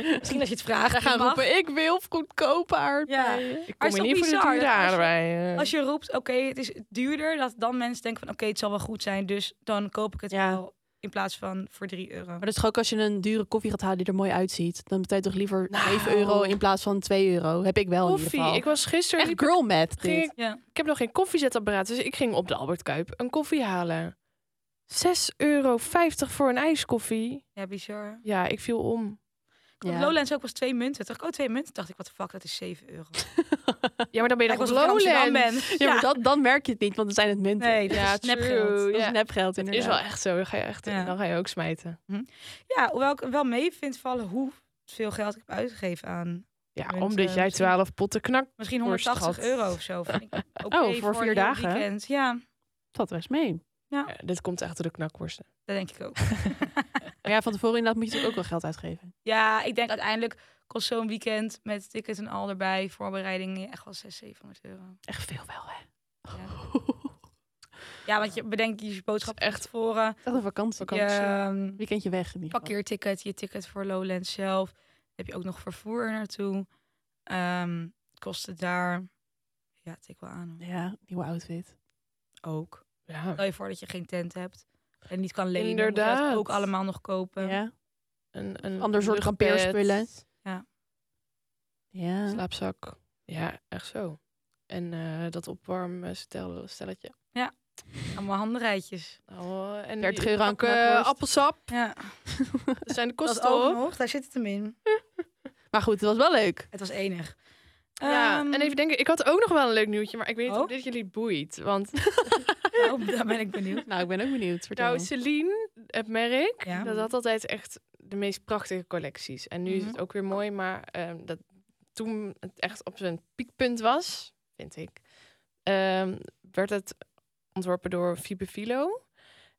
[SPEAKER 4] misschien als je het vraagt.
[SPEAKER 1] Ze
[SPEAKER 4] je
[SPEAKER 1] gaan
[SPEAKER 4] mag.
[SPEAKER 1] roepen, ik wil goedkope aardbeien.
[SPEAKER 2] Ik
[SPEAKER 4] Maar
[SPEAKER 2] kom hier
[SPEAKER 4] is toch
[SPEAKER 2] niet voor de
[SPEAKER 4] bizar
[SPEAKER 2] duurde
[SPEAKER 4] dat als je-
[SPEAKER 2] aardbeien.
[SPEAKER 4] Als je roept, oké, het is duurder, dat dan mensen denken van, oké, het zal wel goed zijn, dus dan koop ik het
[SPEAKER 1] Ja.
[SPEAKER 4] wel in plaats van voor 3 euro.
[SPEAKER 1] Maar dat is toch ook als je een dure koffie gaat halen die er mooi uitziet. Dan betaal je toch liever
[SPEAKER 2] Nou.
[SPEAKER 1] 7 euro in plaats van 2 euro. Heb ik wel in
[SPEAKER 2] Koffie.
[SPEAKER 1] ieder
[SPEAKER 2] Ik
[SPEAKER 1] geval.
[SPEAKER 2] was gisteren...
[SPEAKER 1] Echt
[SPEAKER 2] liep ik-
[SPEAKER 1] girl math
[SPEAKER 2] ging
[SPEAKER 1] dit.
[SPEAKER 2] ik,
[SPEAKER 4] Ja.
[SPEAKER 2] ik heb nog geen koffiezetapparaat, dus ik ging op de Albert Kuip een koffie halen. 6,50 euro voor een ijskoffie.
[SPEAKER 4] ja, bizar.
[SPEAKER 2] Ja, ik viel om.
[SPEAKER 4] Op
[SPEAKER 1] Ja.
[SPEAKER 4] Lowlands ook was twee munten. Toch ook twee munten. Dacht ik, wat de fuck, dat is 7 euro.
[SPEAKER 2] Ja, maar dan ben je nog
[SPEAKER 4] Lijkt
[SPEAKER 2] op
[SPEAKER 4] alsof ik in Amsterdam
[SPEAKER 2] Lowlands.
[SPEAKER 4] ben.
[SPEAKER 1] Ja, maar dat, dan merk je het niet, want het zijn het munten.
[SPEAKER 4] Nee, dat
[SPEAKER 2] Ja,
[SPEAKER 4] is nepgeld.
[SPEAKER 2] true.
[SPEAKER 1] Dat
[SPEAKER 2] ja.
[SPEAKER 1] is nepgeld
[SPEAKER 2] Het is
[SPEAKER 1] inderdaad.
[SPEAKER 2] wel echt zo. Dan ga je, echt,
[SPEAKER 4] Ja.
[SPEAKER 2] dan ga je ook smijten.
[SPEAKER 4] Ja, hoewel ik wel mee vind vallen hoeveel geld ik heb uitgegeven aan
[SPEAKER 2] Ja,
[SPEAKER 4] Mensen,
[SPEAKER 2] omdat jij
[SPEAKER 4] misschien-
[SPEAKER 2] 12 potten knakt.
[SPEAKER 4] misschien
[SPEAKER 2] Voor
[SPEAKER 4] 180
[SPEAKER 2] schat.
[SPEAKER 4] euro of zo. Vind ik oké
[SPEAKER 2] Oh, voor
[SPEAKER 4] een
[SPEAKER 2] vier
[SPEAKER 4] heel
[SPEAKER 2] dagen?
[SPEAKER 4] Weekend. Ja,
[SPEAKER 1] Dat best mee.
[SPEAKER 2] Ja, dit komt echt door de knakworsten.
[SPEAKER 4] dat denk ik ook.
[SPEAKER 1] Maar ja, van tevoren inderdaad moet je natuurlijk ook wel geld uitgeven.
[SPEAKER 4] Ja, ik denk uiteindelijk kost zo'n weekend met tickets en al erbij, voorbereidingen, echt wel 600, 700 euro.
[SPEAKER 1] Echt veel wel, hè?
[SPEAKER 4] Ja. Ja, want je bedenkt je boodschap
[SPEAKER 2] Het is
[SPEAKER 4] echt
[SPEAKER 2] echt
[SPEAKER 4] tevoren.
[SPEAKER 1] Echt een vakantie.
[SPEAKER 4] Je ehm,
[SPEAKER 1] Weekendje weg in ieder geval.
[SPEAKER 4] parkeerticket, je ticket voor Lowlands zelf. Dan heb je ook nog vervoer er naartoe. Ehm kosten daar. Ja, tik wel aan. hoor.
[SPEAKER 1] Ja, nieuwe outfit.
[SPEAKER 4] Ook.
[SPEAKER 2] Ja.
[SPEAKER 4] Stel je voor dat je geen tent hebt en niet kan lenen. moet je
[SPEAKER 2] Inderdaad.
[SPEAKER 4] dat ook allemaal nog kopen.
[SPEAKER 1] Ja.
[SPEAKER 2] Een, een
[SPEAKER 1] Ander soort
[SPEAKER 2] luchtbed,
[SPEAKER 1] kampeerspullen. Ja.
[SPEAKER 2] Slaapzak. Ja, echt zo. En eh, dat opwarm stel, stelletje.
[SPEAKER 4] Allemaal handrijtjes.
[SPEAKER 2] Nou, eh, en
[SPEAKER 1] 30
[SPEAKER 2] die
[SPEAKER 1] euro aan
[SPEAKER 2] pakken
[SPEAKER 1] knakworst.
[SPEAKER 2] appelsap.
[SPEAKER 4] Ja,
[SPEAKER 2] Dat zijn de
[SPEAKER 4] dat
[SPEAKER 2] kosten
[SPEAKER 4] ook
[SPEAKER 2] op.
[SPEAKER 4] nog. Daar zit het hem in.
[SPEAKER 1] Maar goed, het was wel leuk.
[SPEAKER 4] Het was enig.
[SPEAKER 2] Ja,
[SPEAKER 4] Ehm,
[SPEAKER 2] en even denken, ik had ook nog wel een leuk nieuwtje, maar ik weet niet
[SPEAKER 4] Oh?
[SPEAKER 2] of dit jullie boeit. Want
[SPEAKER 4] nou, daar ben ik benieuwd.
[SPEAKER 1] Nou, ik ben ook benieuwd. Vertel.
[SPEAKER 2] nou, Celine, het merk,
[SPEAKER 4] Ja.
[SPEAKER 2] dat had altijd echt de meest prachtige collecties. En nu is het
[SPEAKER 4] Mhm.
[SPEAKER 2] ook weer mooi, maar ehm, dat toen het echt op zijn piekpunt was, vind ik, ehm, werd het ontworpen door Fibe Filo.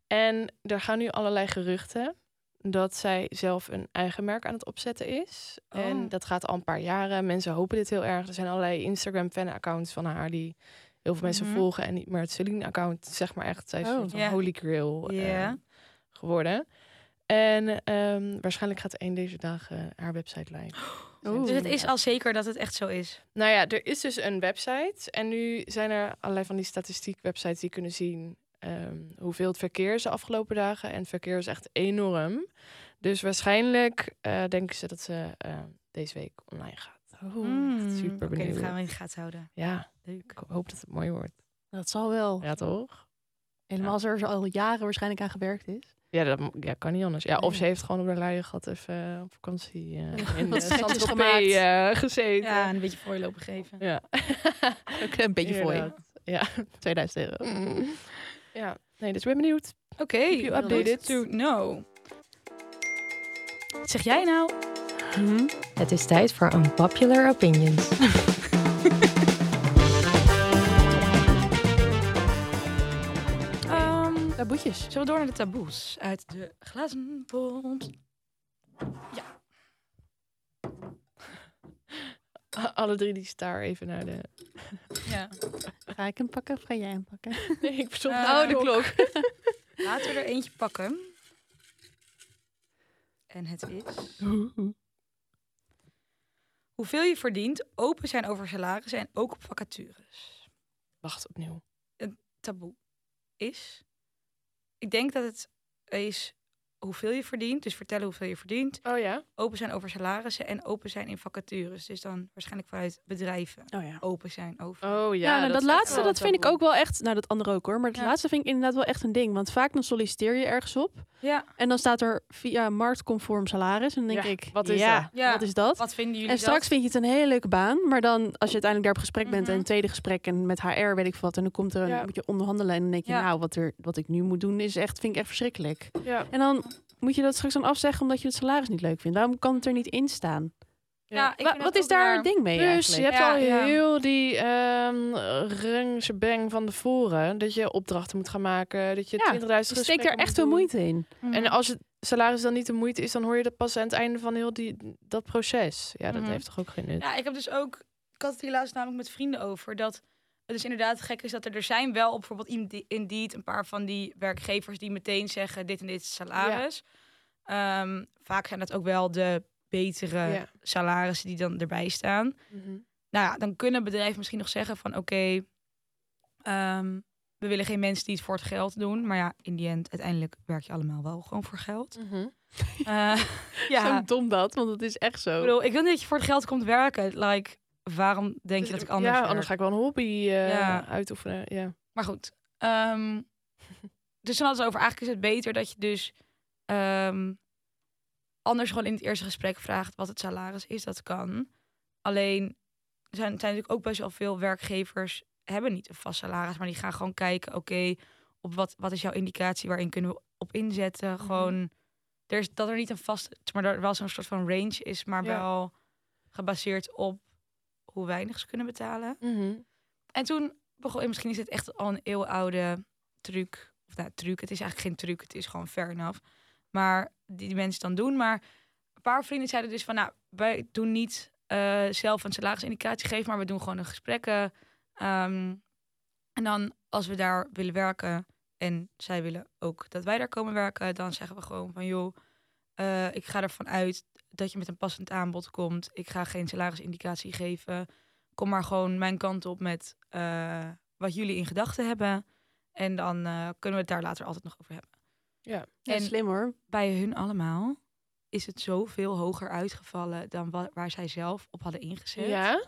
[SPEAKER 2] En er gaan nu allerlei geruchten dat zij zelf een eigen merk aan het opzetten is. En
[SPEAKER 4] Oh.
[SPEAKER 2] dat gaat al een paar jaren. Mensen hopen dit heel erg. Er zijn allerlei Instagram-fan-accounts van haar die heel veel mensen
[SPEAKER 4] Mhm.
[SPEAKER 2] volgen. En niet meer het Celine-account, zeg maar echt. Zij is een
[SPEAKER 1] Oh.
[SPEAKER 2] soort van
[SPEAKER 4] Ja.
[SPEAKER 2] holy grail eh,
[SPEAKER 4] Ja.
[SPEAKER 2] geworden. En ehm, waarschijnlijk gaat een deze dagen haar website live.
[SPEAKER 1] Oeh.
[SPEAKER 4] Dus het is al zeker dat het echt zo is.
[SPEAKER 2] Nou ja, er is dus een website. En nu zijn er allerlei van die statistiek-websites die kunnen zien ehm, hoeveel het verkeer is de afgelopen dagen. En het verkeer is echt enorm. Dus waarschijnlijk eh, denken ze dat ze eh, deze week online gaat.
[SPEAKER 4] Mm,
[SPEAKER 2] super
[SPEAKER 4] Oké,
[SPEAKER 2] benieuwd.
[SPEAKER 4] dat gaan we in de gaten houden.
[SPEAKER 2] Ja,
[SPEAKER 4] Leuk.
[SPEAKER 2] ik hoop dat het mooi wordt.
[SPEAKER 1] Dat zal wel.
[SPEAKER 2] Ja, toch?
[SPEAKER 1] Helemaal als er al jaren waarschijnlijk aan gewerkt is.
[SPEAKER 2] Ja, dat mo- ja, kan niet anders. Ja, of
[SPEAKER 1] Nee.
[SPEAKER 2] ze heeft gewoon op de luie gat even eh, op vakantie eh, in de
[SPEAKER 1] Wat schetjes
[SPEAKER 2] Saint-Tropez
[SPEAKER 1] gemaakt.
[SPEAKER 2] eh, gezeten.
[SPEAKER 4] Ja, en een beetje voorlopen geven.
[SPEAKER 2] Ja.
[SPEAKER 1] Ook een beetje voor je.
[SPEAKER 2] Inderdaad. Ja.
[SPEAKER 1] 2000 euro.
[SPEAKER 2] ja. Nee, dus ik ben benieuwd.
[SPEAKER 4] Oké,
[SPEAKER 2] you updated.
[SPEAKER 4] good to know. Wat zeg jij nou?
[SPEAKER 5] Het is tijd voor Unpopular Opinions.
[SPEAKER 4] Ehm,
[SPEAKER 1] Taboetjes.
[SPEAKER 4] zullen we door naar de taboes uit de glazen bond?
[SPEAKER 2] Alle drie die staar even naar de...
[SPEAKER 4] Ja.
[SPEAKER 1] Ga ik hem pakken of ga jij hem pakken?
[SPEAKER 2] Nee, ik bedoel...
[SPEAKER 4] Eh, Oh, de
[SPEAKER 2] klok.
[SPEAKER 4] Laten we er eentje pakken. En het is...
[SPEAKER 1] Oh,
[SPEAKER 4] Hoeveel je verdient, open zijn over salarissen en ook op vacatures.
[SPEAKER 2] Wacht, opnieuw.
[SPEAKER 4] Taboe is... Ik denk dat het is hoeveel je verdient. Dus vertellen hoeveel je verdient.
[SPEAKER 2] Oh ja?
[SPEAKER 4] Open zijn over salarissen en open zijn in vacatures. Dus dan waarschijnlijk vanuit bedrijven
[SPEAKER 1] Oh ja.
[SPEAKER 4] open zijn over.
[SPEAKER 2] Oh ja.
[SPEAKER 1] Ja, nou, dat,
[SPEAKER 2] is echt
[SPEAKER 1] laatste
[SPEAKER 2] wel
[SPEAKER 1] dat
[SPEAKER 2] een
[SPEAKER 1] vind ik
[SPEAKER 2] taboe.
[SPEAKER 1] ook wel echt. Nou, dat andere ook hoor. Maar dat
[SPEAKER 4] Ja.
[SPEAKER 1] laatste vind ik inderdaad wel echt een ding. Want vaak dan solliciteer je ergens op.
[SPEAKER 4] Ja.
[SPEAKER 1] En dan staat er via marktconform salaris. En dan denk
[SPEAKER 2] Ja,
[SPEAKER 1] ik,
[SPEAKER 2] wat is
[SPEAKER 1] ja,
[SPEAKER 2] dat?
[SPEAKER 4] Ja.
[SPEAKER 1] wat is dat?
[SPEAKER 4] Wat vinden jullie
[SPEAKER 1] En straks vind je het een hele leuke baan. Maar dan als je uiteindelijk daar op gesprek bent en
[SPEAKER 4] Mhm.
[SPEAKER 1] een tweede gesprek en met HR weet ik veel wat. En dan komt er een,
[SPEAKER 2] Ja.
[SPEAKER 1] moet je onderhandelen. En dan denk je,
[SPEAKER 4] Ja.
[SPEAKER 1] nou, wat, er, wat ik nu moet doen is echt, vind ik echt verschrikkelijk.
[SPEAKER 2] Ja.
[SPEAKER 1] En dan moet je dat straks dan afzeggen omdat je het salaris niet leuk vindt. Daarom kan het er niet in staan.
[SPEAKER 2] Ja,
[SPEAKER 1] Wa- wat is daar het ding mee
[SPEAKER 2] Dus
[SPEAKER 1] eigenlijk?
[SPEAKER 2] je hebt
[SPEAKER 4] Ja,
[SPEAKER 2] al
[SPEAKER 4] ja.
[SPEAKER 2] heel die ehm rungse bang van tevoren. Dat je opdrachten moet gaan maken. Dat je
[SPEAKER 1] Ja,
[SPEAKER 2] 20.000
[SPEAKER 1] Je
[SPEAKER 2] gesprekken
[SPEAKER 1] steekt daar
[SPEAKER 2] moet
[SPEAKER 1] echt veel
[SPEAKER 2] doen.
[SPEAKER 1] moeite in.
[SPEAKER 2] En
[SPEAKER 4] Mhm.
[SPEAKER 2] als het salaris dan niet de moeite is, dan hoor je dat pas aan het einde van heel die, dat proces. Ja, dat
[SPEAKER 4] Mhm.
[SPEAKER 2] heeft toch ook geen nut.
[SPEAKER 4] Ja, ik heb dus ook. Ik had het hier laatst namelijk met vrienden over. Dat het dus inderdaad gek is dat er, er zijn wel op bijvoorbeeld Inde- Indeed een paar van die werkgevers die meteen zeggen: dit en dit is salaris. Ehm, vaak zijn dat ook wel de betere
[SPEAKER 2] Ja.
[SPEAKER 4] salarissen die dan erbij staan.
[SPEAKER 2] Mhm.
[SPEAKER 4] Nou ja, dan kunnen bedrijven misschien nog zeggen: van oké, ehm, we willen geen mensen die het voor het geld doen. Maar ja, in die end, uiteindelijk werk je allemaal wel gewoon voor geld. Eh,
[SPEAKER 1] Zo dom dat, want het is echt zo.
[SPEAKER 4] Ik bedoel, ik wil niet dat je voor het geld komt werken. Like, waarom denk je dat ik anders
[SPEAKER 2] Ja,
[SPEAKER 4] werk?
[SPEAKER 2] anders ga Dus ik wel een hobby eh,
[SPEAKER 4] Ja.
[SPEAKER 2] uitoefenen. Ja.
[SPEAKER 4] Maar goed. ehm, dus dan hadden ze over, eigenlijk is het beter dat je dus ehm, anders gewoon in het eerste gesprek vraagt wat het salaris is. Dat kan. Alleen er zijn, zijn natuurlijk ook best wel veel werkgevers hebben niet een vast salaris, maar die gaan gewoon kijken, oké, op wat, wat is jouw indicatie waarin kunnen we op inzetten? Gewoon, er is, dat er niet een vast, maar er wel zo'n soort van range is, maar
[SPEAKER 2] Ja.
[SPEAKER 4] wel gebaseerd op hoe weinig ze kunnen betalen. En toen begon, misschien is het echt al een eeuwenoude truc. Of nou, truc, het is eigenlijk geen truc, het is gewoon fair enough. Maar die, die mensen dan doen. Maar een paar vrienden zeiden dus van, nou, wij doen niet eh, zelf een salarisindicatie geven, maar we doen gewoon een gesprekken. Ehm, en dan als we daar willen werken en zij willen ook dat wij daar komen werken, dan zeggen we gewoon van, joh, eh, ik ga ervan uit dat je met een passend aanbod komt. Ik ga geen salarisindicatie geven kom maar gewoon mijn kant op met eh, wat jullie in gedachten hebben. En dan eh, kunnen we het daar later altijd nog over hebben.
[SPEAKER 1] Ja,
[SPEAKER 4] en-
[SPEAKER 1] slim hoor.
[SPEAKER 4] Bij hun allemaal is het zoveel hoger uitgevallen dan wa- waar zij zelf op hadden ingezet.
[SPEAKER 2] ja.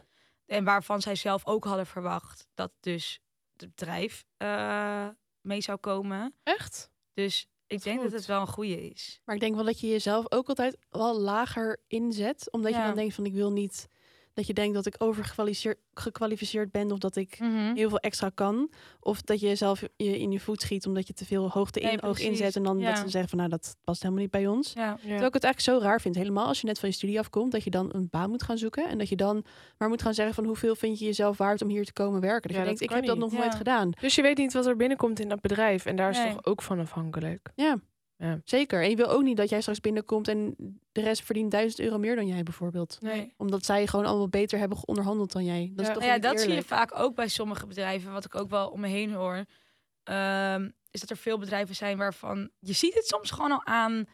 [SPEAKER 4] En waarvan zij zelf ook hadden verwacht dat dus het bedrijf eh, mee zou komen.
[SPEAKER 2] Echt?
[SPEAKER 4] Dus ik
[SPEAKER 2] Wat
[SPEAKER 4] denk dat
[SPEAKER 2] goed.
[SPEAKER 4] het wel een goede is.
[SPEAKER 1] Maar ik denk wel dat je jezelf ook altijd wel lager inzet. Omdat je
[SPEAKER 4] Ja.
[SPEAKER 1] dan denkt van ik wil niet dat je denkt dat ik overgekwalificeerd gekwalificeerd ben of dat ik
[SPEAKER 2] Mhm.
[SPEAKER 4] Hm.
[SPEAKER 1] heel veel extra kan. Of dat je jezelf je in je voet schiet omdat je te veel hoogte in
[SPEAKER 4] Nee,
[SPEAKER 1] oog
[SPEAKER 4] precies.
[SPEAKER 1] inzet. En dan dat
[SPEAKER 4] Ja.
[SPEAKER 1] ze zeggen van nou dat past helemaal niet bij ons.
[SPEAKER 4] Ja.
[SPEAKER 2] Ja.
[SPEAKER 1] Terwijl ik het eigenlijk zo raar vind, helemaal als je net van je studie afkomt, dat je dan een baan moet gaan zoeken. En dat je dan maar moet gaan zeggen van hoeveel vind je jezelf waard om hier te komen werken. Dat je
[SPEAKER 2] Ja, dat
[SPEAKER 1] denkt, ik
[SPEAKER 2] kan
[SPEAKER 1] heb dat
[SPEAKER 2] niet.
[SPEAKER 1] nog nooit
[SPEAKER 4] Ja.
[SPEAKER 1] gedaan.
[SPEAKER 2] Dus je weet niet wat er binnenkomt in dat bedrijf. En daar is
[SPEAKER 4] Nee.
[SPEAKER 2] toch ook van afhankelijk.
[SPEAKER 1] Zeker. En je wil ook niet dat jij straks binnenkomt en de rest verdient 1000 euro meer dan jij bijvoorbeeld.
[SPEAKER 2] Nee.
[SPEAKER 1] Omdat zij gewoon allemaal beter hebben geonderhandeld dan jij. Dat
[SPEAKER 2] Ja.
[SPEAKER 1] is toch
[SPEAKER 4] Nou ja,
[SPEAKER 1] niet
[SPEAKER 4] dat zie je
[SPEAKER 1] eerlijk?
[SPEAKER 4] vaak ook bij sommige bedrijven, wat ik ook wel om me heen hoor. ehm, is dat er veel bedrijven zijn waarvan je ziet het soms gewoon al aan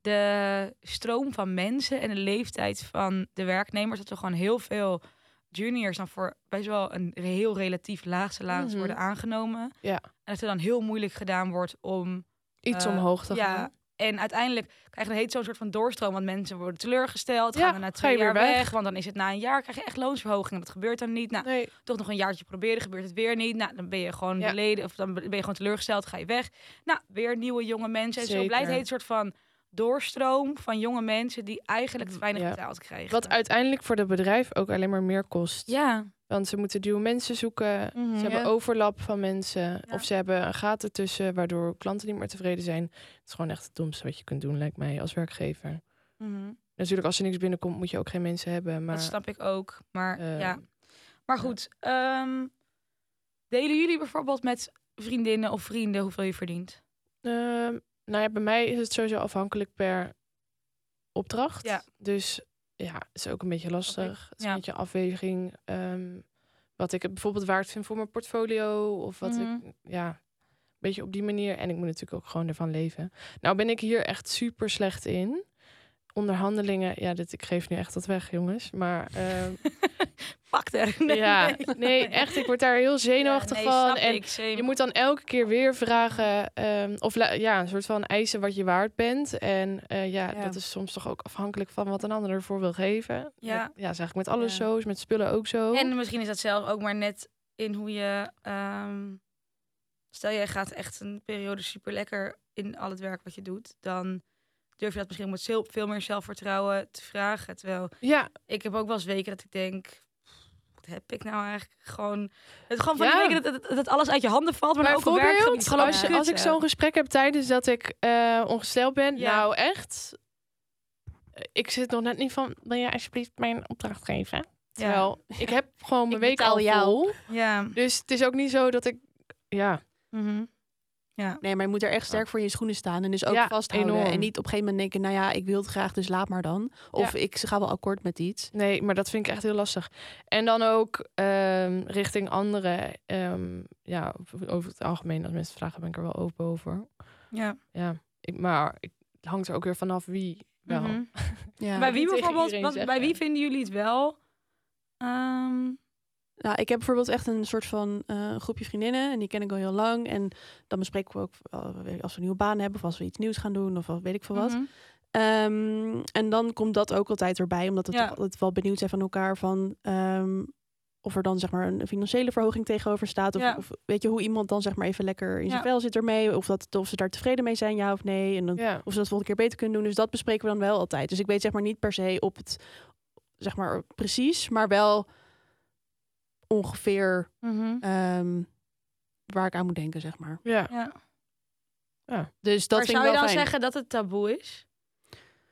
[SPEAKER 4] de stroom van mensen en de leeftijd van de werknemers. Dat er gewoon heel veel juniors dan voor best wel een heel relatief laag salaris
[SPEAKER 2] Mhm.
[SPEAKER 4] worden aangenomen.
[SPEAKER 2] Ja.
[SPEAKER 4] En dat er dan heel moeilijk gedaan wordt om
[SPEAKER 2] Iets
[SPEAKER 4] Eh,
[SPEAKER 2] omhoog te
[SPEAKER 4] ja.
[SPEAKER 2] gaan.
[SPEAKER 4] en uiteindelijk krijg je dan heet zo'n soort van doorstroom, want mensen worden teleurgesteld,
[SPEAKER 2] Ja,
[SPEAKER 4] gaan er na
[SPEAKER 2] ga
[SPEAKER 4] twee
[SPEAKER 2] je weer
[SPEAKER 4] jaar weg.
[SPEAKER 2] weg.
[SPEAKER 4] want dan is het na een jaar krijg je echt loonsverhoging. Dat gebeurt dan niet. Nou,
[SPEAKER 2] Nee.
[SPEAKER 4] toch nog een jaartje proberen, gebeurt het weer niet. Nou, dan ben je gewoon
[SPEAKER 2] Ja.
[SPEAKER 4] beleden of dan ben je gewoon teleurgesteld, ga je weg. Nou, weer nieuwe jonge mensen. En zo
[SPEAKER 2] Zeker.
[SPEAKER 4] blijft het een soort van doorstroom van jonge mensen die eigenlijk te weinig
[SPEAKER 2] Ja.
[SPEAKER 4] betaald krijgen.
[SPEAKER 2] Wat uiteindelijk voor het bedrijf ook alleen maar meer kost.
[SPEAKER 4] Ja.
[SPEAKER 2] Want ze moeten nieuwe mensen zoeken.
[SPEAKER 4] Mhm.
[SPEAKER 2] Ze hebben overlap van mensen.
[SPEAKER 4] Ja.
[SPEAKER 2] Of ze hebben een gaten tussen, waardoor klanten niet meer tevreden zijn. Het is gewoon echt het domste wat je kunt doen, lijkt mij, als werkgever.
[SPEAKER 4] Mhm.
[SPEAKER 2] Natuurlijk, als er niks binnenkomt, moet je ook geen mensen hebben. Maar
[SPEAKER 4] Dat snap ik ook. Maar
[SPEAKER 2] Eh,
[SPEAKER 4] ja. Maar goed, ehm, delen jullie bijvoorbeeld met vriendinnen of vrienden hoeveel je verdient?
[SPEAKER 2] Ehm, nou ja, bij mij is het sowieso afhankelijk per opdracht.
[SPEAKER 4] Ja.
[SPEAKER 2] Dus ja, het is ook een beetje lastig. Het is
[SPEAKER 4] Ja.
[SPEAKER 2] een beetje afweging. ehm, wat ik het bijvoorbeeld waard vind voor mijn portfolio. Of wat
[SPEAKER 4] Mhm.
[SPEAKER 2] ik, ja, een beetje op die manier. En ik moet natuurlijk ook gewoon ervan leven. Nou ben ik hier echt super slecht in. onderhandelingen. Ja, dit, ik geef nu echt wat weg, jongens. Maar ehm,
[SPEAKER 4] Pak er.
[SPEAKER 2] ja, nee, echt, ik word daar heel zenuwachtig
[SPEAKER 4] Ja, nee,
[SPEAKER 2] van.
[SPEAKER 4] snap
[SPEAKER 2] En
[SPEAKER 4] ik, same.
[SPEAKER 2] je moet dan elke keer weer vragen, ehm, of la- ja, een soort van eisen wat je waard bent. En eh, ja,
[SPEAKER 1] Ja.
[SPEAKER 2] dat is soms toch ook afhankelijk van wat een ander ervoor wil geven.
[SPEAKER 4] Ja.
[SPEAKER 2] dat, ja is eigenlijk met alles
[SPEAKER 4] Ja.
[SPEAKER 2] zo, is met spullen ook zo.
[SPEAKER 4] En misschien is dat zelf ook maar net in hoe je. ehm, stel, jij gaat echt een periode super lekker in al het werk wat je doet. Dan durf je dat misschien met zeel- veel meer zelfvertrouwen te vragen. Terwijl
[SPEAKER 2] ja,
[SPEAKER 4] ik heb ook wel eens weken dat ik denk. Wat heb ik nou eigenlijk gewoon. Het gewoon van die
[SPEAKER 2] Ja.
[SPEAKER 4] weken dat, dat, dat alles uit je handen valt. Maar dan ook een werk
[SPEAKER 2] Bijvoorbeeld,
[SPEAKER 4] gewoon iets
[SPEAKER 2] als,
[SPEAKER 4] van
[SPEAKER 2] je- als ik
[SPEAKER 4] kut,
[SPEAKER 2] zo'n
[SPEAKER 4] hè.
[SPEAKER 2] gesprek heb tijdens dat ik eh, ongesteld ben,
[SPEAKER 4] Ja.
[SPEAKER 2] nou echt, eh, ik zit nog net niet van, wil jij alsjeblieft mijn opdracht geven? Terwijl, ik heb gewoon mijn
[SPEAKER 1] Ik
[SPEAKER 2] week
[SPEAKER 1] betaal
[SPEAKER 2] al
[SPEAKER 1] jou.
[SPEAKER 2] vol.
[SPEAKER 4] eh, Ja.
[SPEAKER 2] Dus het is ook niet zo dat ik, ja,
[SPEAKER 4] Mhm.
[SPEAKER 1] Nee, maar je moet er echt sterk voor in je schoenen staan. En dus ook
[SPEAKER 2] Ja,
[SPEAKER 1] vasthouden.
[SPEAKER 2] enorm.
[SPEAKER 1] En niet op een gegeven moment denken, nou ja, ik wil het graag, dus laat maar dan. Of ik ga wel akkoord met iets.
[SPEAKER 2] nee, maar dat vind ik echt heel lastig. En dan ook ehm, richting anderen, ehm, ja, over- over het algemeen, als mensen vragen, ben ik er wel open over.
[SPEAKER 4] Ja.
[SPEAKER 2] Ja, ik, maar ik, het hangt er ook weer vanaf wie wel.
[SPEAKER 4] Mhm.
[SPEAKER 1] Ja.
[SPEAKER 4] Bij wie
[SPEAKER 2] Niet tegen
[SPEAKER 4] bijvoorbeeld?
[SPEAKER 2] iedereen
[SPEAKER 4] wat- bij
[SPEAKER 2] zeggen.
[SPEAKER 4] wie vinden jullie het wel? ehm,
[SPEAKER 1] Nou, ik heb bijvoorbeeld echt een soort van eh, groepje vriendinnen. En die ken ik al heel lang. En dan bespreken we ook eh, als we een nieuwe baan hebben. Of als we iets nieuws gaan doen. Of wat weet ik veel wat.
[SPEAKER 4] mhm.
[SPEAKER 1] Ehm, en dan komt dat ook altijd erbij. Omdat we
[SPEAKER 4] Ja.
[SPEAKER 1] toch altijd wel benieuwd zijn van elkaar. Van, ehm, of er dan zeg maar een financiële verhoging tegenover staat. Of,
[SPEAKER 4] Ja.
[SPEAKER 1] of weet je hoe iemand dan zeg maar even lekker in zijn
[SPEAKER 4] Ja.
[SPEAKER 1] vel zit ermee. Of, dat, of ze daar tevreden mee zijn, ja of nee. En dan
[SPEAKER 2] Ja.
[SPEAKER 1] of ze dat volgende keer beter kunnen doen. Dus dat bespreken we dan wel altijd. Dus ik weet zeg maar niet per se op het, zeg maar precies, maar wel ongeveer
[SPEAKER 4] Mhm.
[SPEAKER 1] ehm, waar ik aan moet denken, zeg maar.
[SPEAKER 2] ja.
[SPEAKER 4] Ja.
[SPEAKER 1] Dus dat
[SPEAKER 4] maar
[SPEAKER 1] vind
[SPEAKER 4] zou
[SPEAKER 1] ik
[SPEAKER 4] je
[SPEAKER 1] wel
[SPEAKER 4] dan
[SPEAKER 1] fijn.
[SPEAKER 4] zeggen dat het taboe is?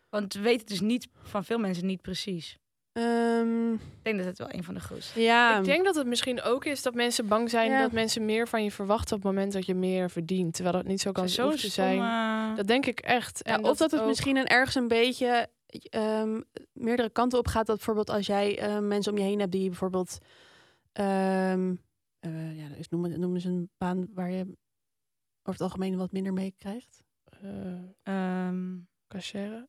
[SPEAKER 4] Want we weten het dus niet van veel mensen niet precies.
[SPEAKER 1] Ehm,
[SPEAKER 4] Ik denk dat het wel een van de grootste
[SPEAKER 1] ja,
[SPEAKER 2] Ik denk dat het misschien ook is dat mensen bang zijn
[SPEAKER 1] Ehm. Ja.
[SPEAKER 2] dat mensen meer van je verwachten op het moment dat je meer verdient. Terwijl dat niet zo kan
[SPEAKER 4] is. eh, Zo'n
[SPEAKER 2] hoeft te zijn.
[SPEAKER 4] stomme-
[SPEAKER 2] Dat denk ik echt.
[SPEAKER 1] Ja, of dat het misschien een, ergens een beetje ehm, meerdere kanten op gaat. Dat bijvoorbeeld als jij eh, mensen om je heen hebt die bijvoorbeeld... ehm eh, ja, dus noemen, noemen ze een baan waar je over het algemeen wat minder mee krijgt.
[SPEAKER 2] eh,
[SPEAKER 4] Ehm,
[SPEAKER 2] Cachère.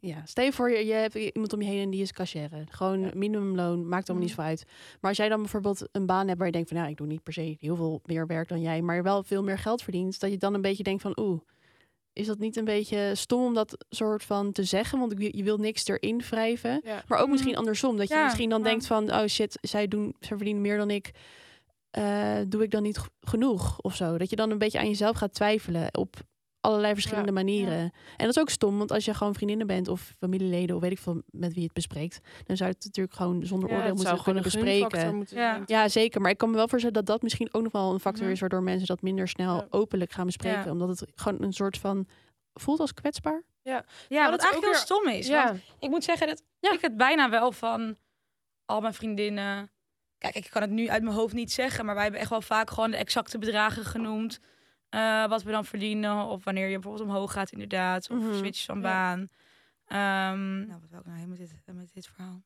[SPEAKER 1] Ja, stel je voor, je, je hebt iemand om je heen en die is cashier. Gewoon minimumloon, maakt allemaal niet
[SPEAKER 4] Mhm.
[SPEAKER 1] zo uit. Maar als jij dan bijvoorbeeld een baan hebt waar je denkt van... nou, ik doe niet per se heel veel meer werk dan jij... maar wel veel meer geld verdient, dat je dan een beetje denkt van... oeh, is dat niet een beetje stom om dat soort van te zeggen? Want ik wil- je wil niks erin wrijven.
[SPEAKER 2] Ja.
[SPEAKER 1] Maar ook
[SPEAKER 4] Mhm.
[SPEAKER 2] Mm.
[SPEAKER 1] misschien andersom, dat je
[SPEAKER 4] Ja,
[SPEAKER 1] misschien dan
[SPEAKER 4] ja.
[SPEAKER 1] denkt van... oh shit, zij, doen, zij verdienen meer dan ik... Eh, doe ik dan niet g- genoeg of zo? Dat je dan een beetje aan jezelf gaat twijfelen op allerlei verschillende manieren. En dat is ook stom, want als je gewoon vriendinnen bent of familieleden of weet ik veel met wie je het bespreekt, dan zou je het natuurlijk gewoon zonder
[SPEAKER 2] Ja,
[SPEAKER 1] oordeel
[SPEAKER 2] het zou
[SPEAKER 1] moeten kunnen
[SPEAKER 2] gewoon een gunfactor
[SPEAKER 1] bespreken.
[SPEAKER 2] moeten
[SPEAKER 4] Ja.
[SPEAKER 2] zijn.
[SPEAKER 1] Ja, zeker. Maar ik kan me wel voorstellen dat dat misschien ook nog wel een factor
[SPEAKER 4] Mhm.
[SPEAKER 1] is waardoor mensen dat minder snel
[SPEAKER 2] Ja.
[SPEAKER 1] openlijk gaan bespreken.
[SPEAKER 4] Ja.
[SPEAKER 1] Omdat het gewoon een soort van voelt als kwetsbaar.
[SPEAKER 4] ja, wat
[SPEAKER 2] dat
[SPEAKER 4] eigenlijk
[SPEAKER 2] ook
[SPEAKER 4] heel
[SPEAKER 2] weer-
[SPEAKER 4] stom is.
[SPEAKER 2] Ja.
[SPEAKER 4] Want ik moet zeggen dat ik het bijna wel van al mijn vriendinnen... Kijk, ik kan het nu uit mijn hoofd niet zeggen... maar wij hebben echt wel vaak gewoon de exacte bedragen genoemd. eh, wat we dan verdienen. Of wanneer je bijvoorbeeld omhoog gaat inderdaad. Of
[SPEAKER 1] Mhm.
[SPEAKER 4] switch van
[SPEAKER 2] Ja.
[SPEAKER 4] baan. Ehm, nou, wat wil ik nou heen met dit, met dit verhaal?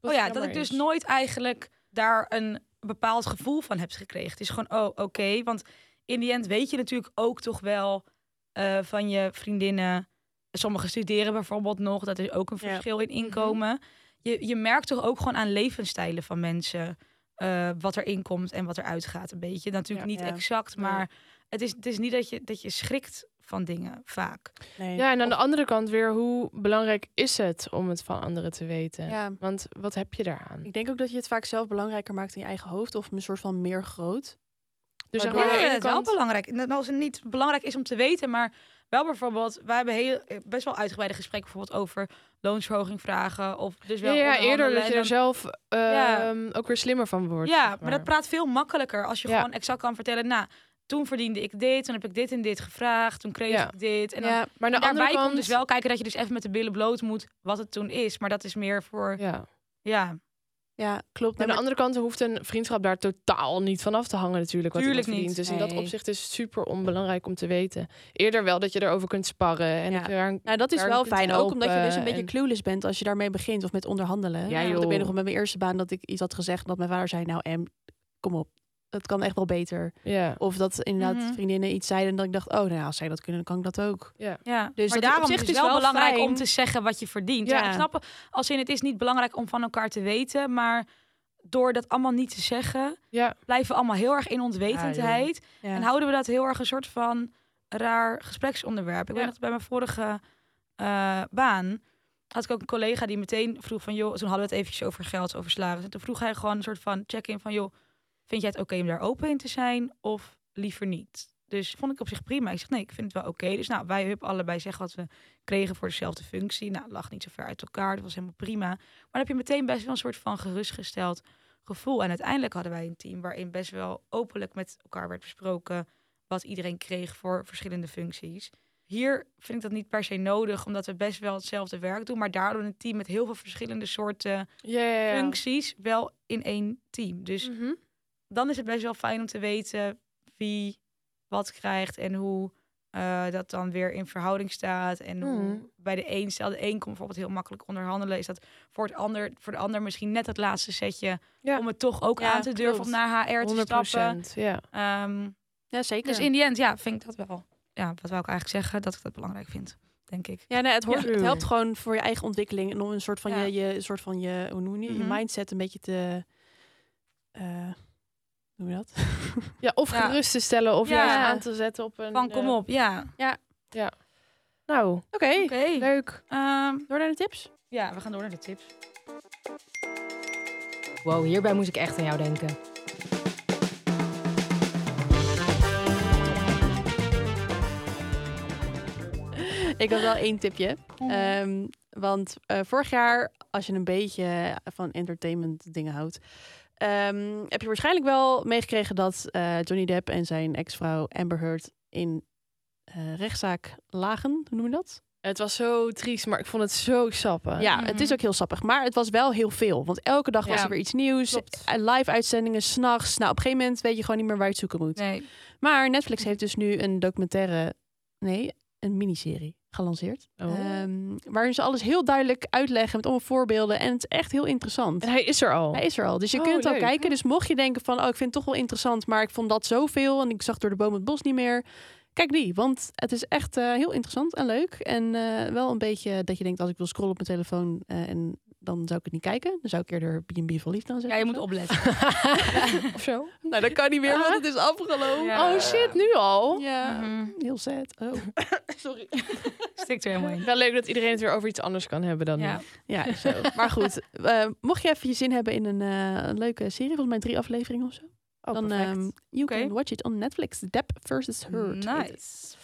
[SPEAKER 2] Wat
[SPEAKER 4] oh ja,
[SPEAKER 2] jammer
[SPEAKER 4] dat ik dus
[SPEAKER 2] is.
[SPEAKER 4] nooit eigenlijk daar een bepaald gevoel van heb gekregen. Het is gewoon, oh, oké. Want in die end weet je natuurlijk ook toch wel eh, van je vriendinnen. Sommigen studeren bijvoorbeeld nog. Dat is ook een
[SPEAKER 1] Ja.
[SPEAKER 4] verschil in inkomen. je, je merkt toch ook gewoon aan levensstijlen van mensen... eh, wat er inkomt en wat er uitgaat een beetje. Natuurlijk
[SPEAKER 2] Ja.
[SPEAKER 4] niet
[SPEAKER 1] Ja.
[SPEAKER 4] exact,
[SPEAKER 1] Nee.
[SPEAKER 4] maar het, is, het is niet dat je, dat je schrikt van dingen vaak.
[SPEAKER 1] Nee.
[SPEAKER 2] Ja, en aan de andere kant weer, hoe belangrijk is het om het van anderen te weten?
[SPEAKER 1] ja.
[SPEAKER 2] Want wat heb je daaraan?
[SPEAKER 1] Ik denk ook dat je het vaak zelf belangrijker maakt in je eigen hoofd of een soort van meer groot.
[SPEAKER 2] Dus zeg
[SPEAKER 1] Ja,
[SPEAKER 2] maar, aan de
[SPEAKER 1] ja,
[SPEAKER 2] ene
[SPEAKER 4] het is wel
[SPEAKER 2] kant-
[SPEAKER 4] belangrijk. En Als het niet belangrijk is om te weten, maar wel bijvoorbeeld, wij hebben heel, eh, best wel uitgebreide gesprekken bijvoorbeeld over loonsverhoging vragen of dus wel
[SPEAKER 2] ja, ja, eerder
[SPEAKER 4] onderhandelen
[SPEAKER 2] dat
[SPEAKER 4] en
[SPEAKER 2] je er
[SPEAKER 4] dan-
[SPEAKER 2] zelf
[SPEAKER 4] Ja.
[SPEAKER 2] ehm, ook weer slimmer van wordt.
[SPEAKER 4] Ja,
[SPEAKER 2] zeg
[SPEAKER 4] maar dat praat veel makkelijker als je
[SPEAKER 2] Ja.
[SPEAKER 4] gewoon exact kan vertellen. Nou, toen verdiende ik dit, toen heb ik dit en dit gevraagd, toen kreeg
[SPEAKER 2] Ja.
[SPEAKER 4] ik dit en dan.
[SPEAKER 1] ja,
[SPEAKER 2] maar aan de andere
[SPEAKER 4] Daarbij
[SPEAKER 2] kant...
[SPEAKER 4] komt dus wel kijken dat je dus even met de billen bloot moet wat het toen is. Maar dat is meer voor,
[SPEAKER 2] Ja.
[SPEAKER 4] ja,
[SPEAKER 1] ja, klopt.
[SPEAKER 2] Maar
[SPEAKER 1] Nee,
[SPEAKER 2] aan de andere kant hoeft een vriendschap daar totaal niet van af te hangen natuurlijk. Wat
[SPEAKER 4] Tuurlijk
[SPEAKER 2] iemand verdient.
[SPEAKER 4] niet,
[SPEAKER 2] Dus in dat
[SPEAKER 1] nee.
[SPEAKER 2] opzicht is het super onbelangrijk om te weten. Eerder wel dat je erover kunt sparren. En
[SPEAKER 1] Ja.
[SPEAKER 2] dat je daar een-
[SPEAKER 1] Nou, dat is
[SPEAKER 2] elkaar
[SPEAKER 1] wel
[SPEAKER 2] kunt
[SPEAKER 1] fijn. Ook omdat je dus
[SPEAKER 2] helpen
[SPEAKER 1] een beetje
[SPEAKER 2] en-
[SPEAKER 1] clueless bent als je daarmee begint of met onderhandelen.
[SPEAKER 2] Ja,
[SPEAKER 1] Want ik
[SPEAKER 2] joh.
[SPEAKER 1] weet nog wel met mijn eerste baan dat ik iets had gezegd dat mijn vader zei, nou Em, kom op, het kan echt wel beter.
[SPEAKER 2] Ja.
[SPEAKER 1] Of dat inderdaad
[SPEAKER 4] Mhm.
[SPEAKER 1] vriendinnen iets zeiden en dat ik dacht, oh, nou, als zij dat kunnen, dan kan ik dat ook.
[SPEAKER 4] Ja,
[SPEAKER 1] Dus
[SPEAKER 4] dus
[SPEAKER 1] dat
[SPEAKER 4] maar
[SPEAKER 1] is
[SPEAKER 4] daarom
[SPEAKER 1] op zich
[SPEAKER 4] is het
[SPEAKER 1] dus
[SPEAKER 4] wel,
[SPEAKER 1] wel
[SPEAKER 4] belangrijk
[SPEAKER 1] fijn.
[SPEAKER 4] om te zeggen wat je verdient.
[SPEAKER 2] Ja.
[SPEAKER 4] Ja. Ik snap, als in het is niet belangrijk om van elkaar te weten, maar door dat allemaal niet te zeggen,
[SPEAKER 2] Ja.
[SPEAKER 4] blijven we allemaal heel erg in onwetendheid
[SPEAKER 1] Ja.
[SPEAKER 4] en houden we dat heel erg een soort van raar gespreksonderwerp.
[SPEAKER 2] Ja.
[SPEAKER 4] Ik weet nog bij mijn vorige eh, baan had ik ook een collega die meteen vroeg van joh, toen hadden we het eventjes over geld, over salaris. En toen vroeg hij gewoon een soort van check-in van joh, vind jij het oké om daar open in te zijn of liever niet? Dus vond ik op zich prima. Ik zeg nee, ik vind het wel oké. Dus nou, wij hebben allebei zeggen wat we kregen voor dezelfde functie. Nou, het lag niet zo ver uit elkaar. Dat was helemaal prima. Maar dan heb je meteen best wel een soort van gerustgesteld gevoel. En uiteindelijk hadden wij een team waarin best wel openlijk met elkaar werd besproken wat iedereen kreeg voor verschillende functies. Hier vind ik dat niet per se nodig, omdat we best wel hetzelfde werk doen, maar daardoor een team met heel veel verschillende soorten
[SPEAKER 2] Ja, ja, ja.
[SPEAKER 4] functies wel in één team. Dus
[SPEAKER 2] Mhm.
[SPEAKER 4] dan is het best wel fijn om te weten wie wat krijgt en hoe eh, dat dan weer in verhouding staat. En hoe
[SPEAKER 2] Mm.
[SPEAKER 4] bij de een, stel de een kon bijvoorbeeld heel makkelijk onderhandelen, is dat voor, het ander, voor de ander misschien net dat laatste setje
[SPEAKER 2] Ja.
[SPEAKER 4] om het toch ook
[SPEAKER 1] Ja,
[SPEAKER 4] aan te durven
[SPEAKER 1] klopt.
[SPEAKER 4] om naar HR te
[SPEAKER 2] 100%.
[SPEAKER 4] stappen.
[SPEAKER 2] Ja.
[SPEAKER 4] Ehm,
[SPEAKER 1] Ja, zeker.
[SPEAKER 4] dus in die end, ja, vind ik dat wel. Ja, wat wou ik eigenlijk zeggen? Dat ik dat belangrijk vind, denk ik.
[SPEAKER 1] Ja, nee, het, hoort,
[SPEAKER 2] Ja.
[SPEAKER 1] het helpt gewoon voor je eigen ontwikkeling en om een soort van
[SPEAKER 4] Ja.
[SPEAKER 1] je, je een soort van je, hoe noem je, je
[SPEAKER 4] Mhm.
[SPEAKER 1] mindset een beetje te, eh, hoe noem je dat?
[SPEAKER 2] ja, of
[SPEAKER 4] Ja.
[SPEAKER 2] gerust te stellen of
[SPEAKER 4] Ja.
[SPEAKER 2] juist aan te zetten op een...
[SPEAKER 4] Van kom
[SPEAKER 2] eh,
[SPEAKER 4] op, ja.
[SPEAKER 2] Nou,
[SPEAKER 1] Oké,
[SPEAKER 4] Oké.
[SPEAKER 2] leuk.
[SPEAKER 4] Ehm,
[SPEAKER 1] door naar de tips.
[SPEAKER 4] ja, we gaan door naar de tips.
[SPEAKER 5] Wow, hierbij moest ik echt aan jou denken.
[SPEAKER 1] Ik had wel één tipje.
[SPEAKER 6] Mhm.
[SPEAKER 5] Eh,
[SPEAKER 1] Ehm, want eh, vorig jaar, als je een beetje van entertainment dingen houdt, ehm, heb je waarschijnlijk wel meegekregen dat eh, Johnny Depp en zijn ex-vrouw Amber Heard in eh, rechtszaak lagen. Hoe noem je dat?
[SPEAKER 2] Het was zo triest, maar ik vond het zo sappig.
[SPEAKER 1] Ja,
[SPEAKER 4] Mhm.
[SPEAKER 1] het is ook heel sappig. Maar het was wel heel veel. Want elke dag was
[SPEAKER 2] Ja,
[SPEAKER 1] er weer iets nieuws.
[SPEAKER 2] klopt.
[SPEAKER 1] Eh, Live uitzendingen, s'nachts. Nou, op een gegeven moment weet je gewoon niet meer waar je het zoeken moet.
[SPEAKER 4] Nee.
[SPEAKER 1] Maar Netflix heeft dus nu een documentaire... Nee, een miniserie gelanceerd.
[SPEAKER 2] Oh.
[SPEAKER 1] Ehm, waarin ze alles heel duidelijk uitleggen met allemaal voorbeelden. En het is echt heel interessant.
[SPEAKER 2] En hij is er al.
[SPEAKER 1] Hij is er al. Dus je
[SPEAKER 2] Oh,
[SPEAKER 1] kunt het al
[SPEAKER 2] leuk.
[SPEAKER 1] kijken. Dus mocht je denken van, oh, ik vind het toch wel interessant, maar ik vond dat zoveel en ik zag door de boom het bos niet meer. Kijk die, want het is echt eh, heel interessant en leuk. En eh, wel een beetje dat je denkt, als ik wil scrollen op mijn telefoon eh, en dan zou ik het niet kijken. Dan zou ik eerder B&B voor liefde aan
[SPEAKER 4] Ja,
[SPEAKER 1] zeggen.
[SPEAKER 4] je moet opletten.
[SPEAKER 2] of zo.
[SPEAKER 1] Nou, dat kan niet meer, want het is afgelopen.
[SPEAKER 4] Ja.
[SPEAKER 2] Oh shit, nu al?
[SPEAKER 1] Ja,
[SPEAKER 4] Mhm.
[SPEAKER 1] heel sad. Oh.
[SPEAKER 2] Sorry.
[SPEAKER 4] Stik er helemaal in.
[SPEAKER 2] Wel leuk dat iedereen het weer over iets anders kan hebben dan
[SPEAKER 4] Ja.
[SPEAKER 2] nu.
[SPEAKER 1] Ja, zo. maar goed. eh, mocht je even je zin hebben in een, eh, een leuke serie, volgens mij drie afleveringen of zo.
[SPEAKER 2] Oh,
[SPEAKER 1] dan
[SPEAKER 2] perfect.
[SPEAKER 1] ehm, you
[SPEAKER 4] Oké.
[SPEAKER 1] can watch it on Netflix. Depp versus Heard. heet het.
[SPEAKER 4] Nice.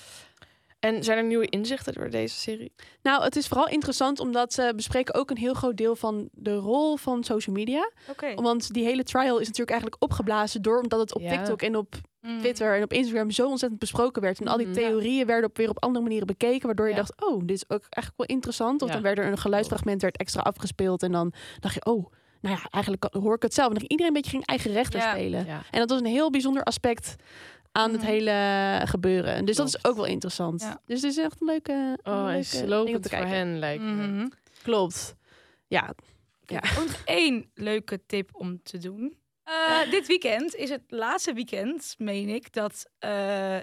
[SPEAKER 2] En zijn er nieuwe inzichten door deze serie?
[SPEAKER 1] Nou, het is vooral interessant omdat ze bespreken ook een heel groot deel van de rol van social media.
[SPEAKER 4] Oké.
[SPEAKER 1] Want die hele trial is natuurlijk eigenlijk opgeblazen door omdat het op
[SPEAKER 2] Ja.
[SPEAKER 1] TikTok en op
[SPEAKER 4] Mm.
[SPEAKER 1] Twitter en op Instagram zo ontzettend besproken werd. En al die
[SPEAKER 2] Mhm.
[SPEAKER 1] theorieën werden op weer op andere manieren bekeken, waardoor je
[SPEAKER 2] Ja.
[SPEAKER 1] dacht, oh, dit is ook eigenlijk wel interessant. Of
[SPEAKER 2] Ja.
[SPEAKER 1] dan werd er een geluidsfragment werd extra afgespeeld en dan dacht je, oh, nou ja, eigenlijk kan- hoor ik het zelf. En dan ging iedereen een beetje ging eigen rechter
[SPEAKER 4] Ja.
[SPEAKER 1] spelen.
[SPEAKER 2] Ja.
[SPEAKER 1] En dat was een heel bijzonder aspect aan het
[SPEAKER 4] Mhm.
[SPEAKER 1] hele gebeuren. Dus dat is
[SPEAKER 2] Klopt.
[SPEAKER 1] ook wel interessant.
[SPEAKER 4] Ja.
[SPEAKER 1] Dus het is echt een leuke, een
[SPEAKER 2] Oh, en
[SPEAKER 1] leuke ding om
[SPEAKER 2] slopend
[SPEAKER 1] eh, te
[SPEAKER 2] voor
[SPEAKER 1] kijken.
[SPEAKER 2] hen lijkt me.
[SPEAKER 4] Mhm.
[SPEAKER 1] Klopt. Ja,
[SPEAKER 4] Ik heb ook nog één leuke tip om te doen. Eh, dit weekend is het laatste weekend, meen ik, dat eh,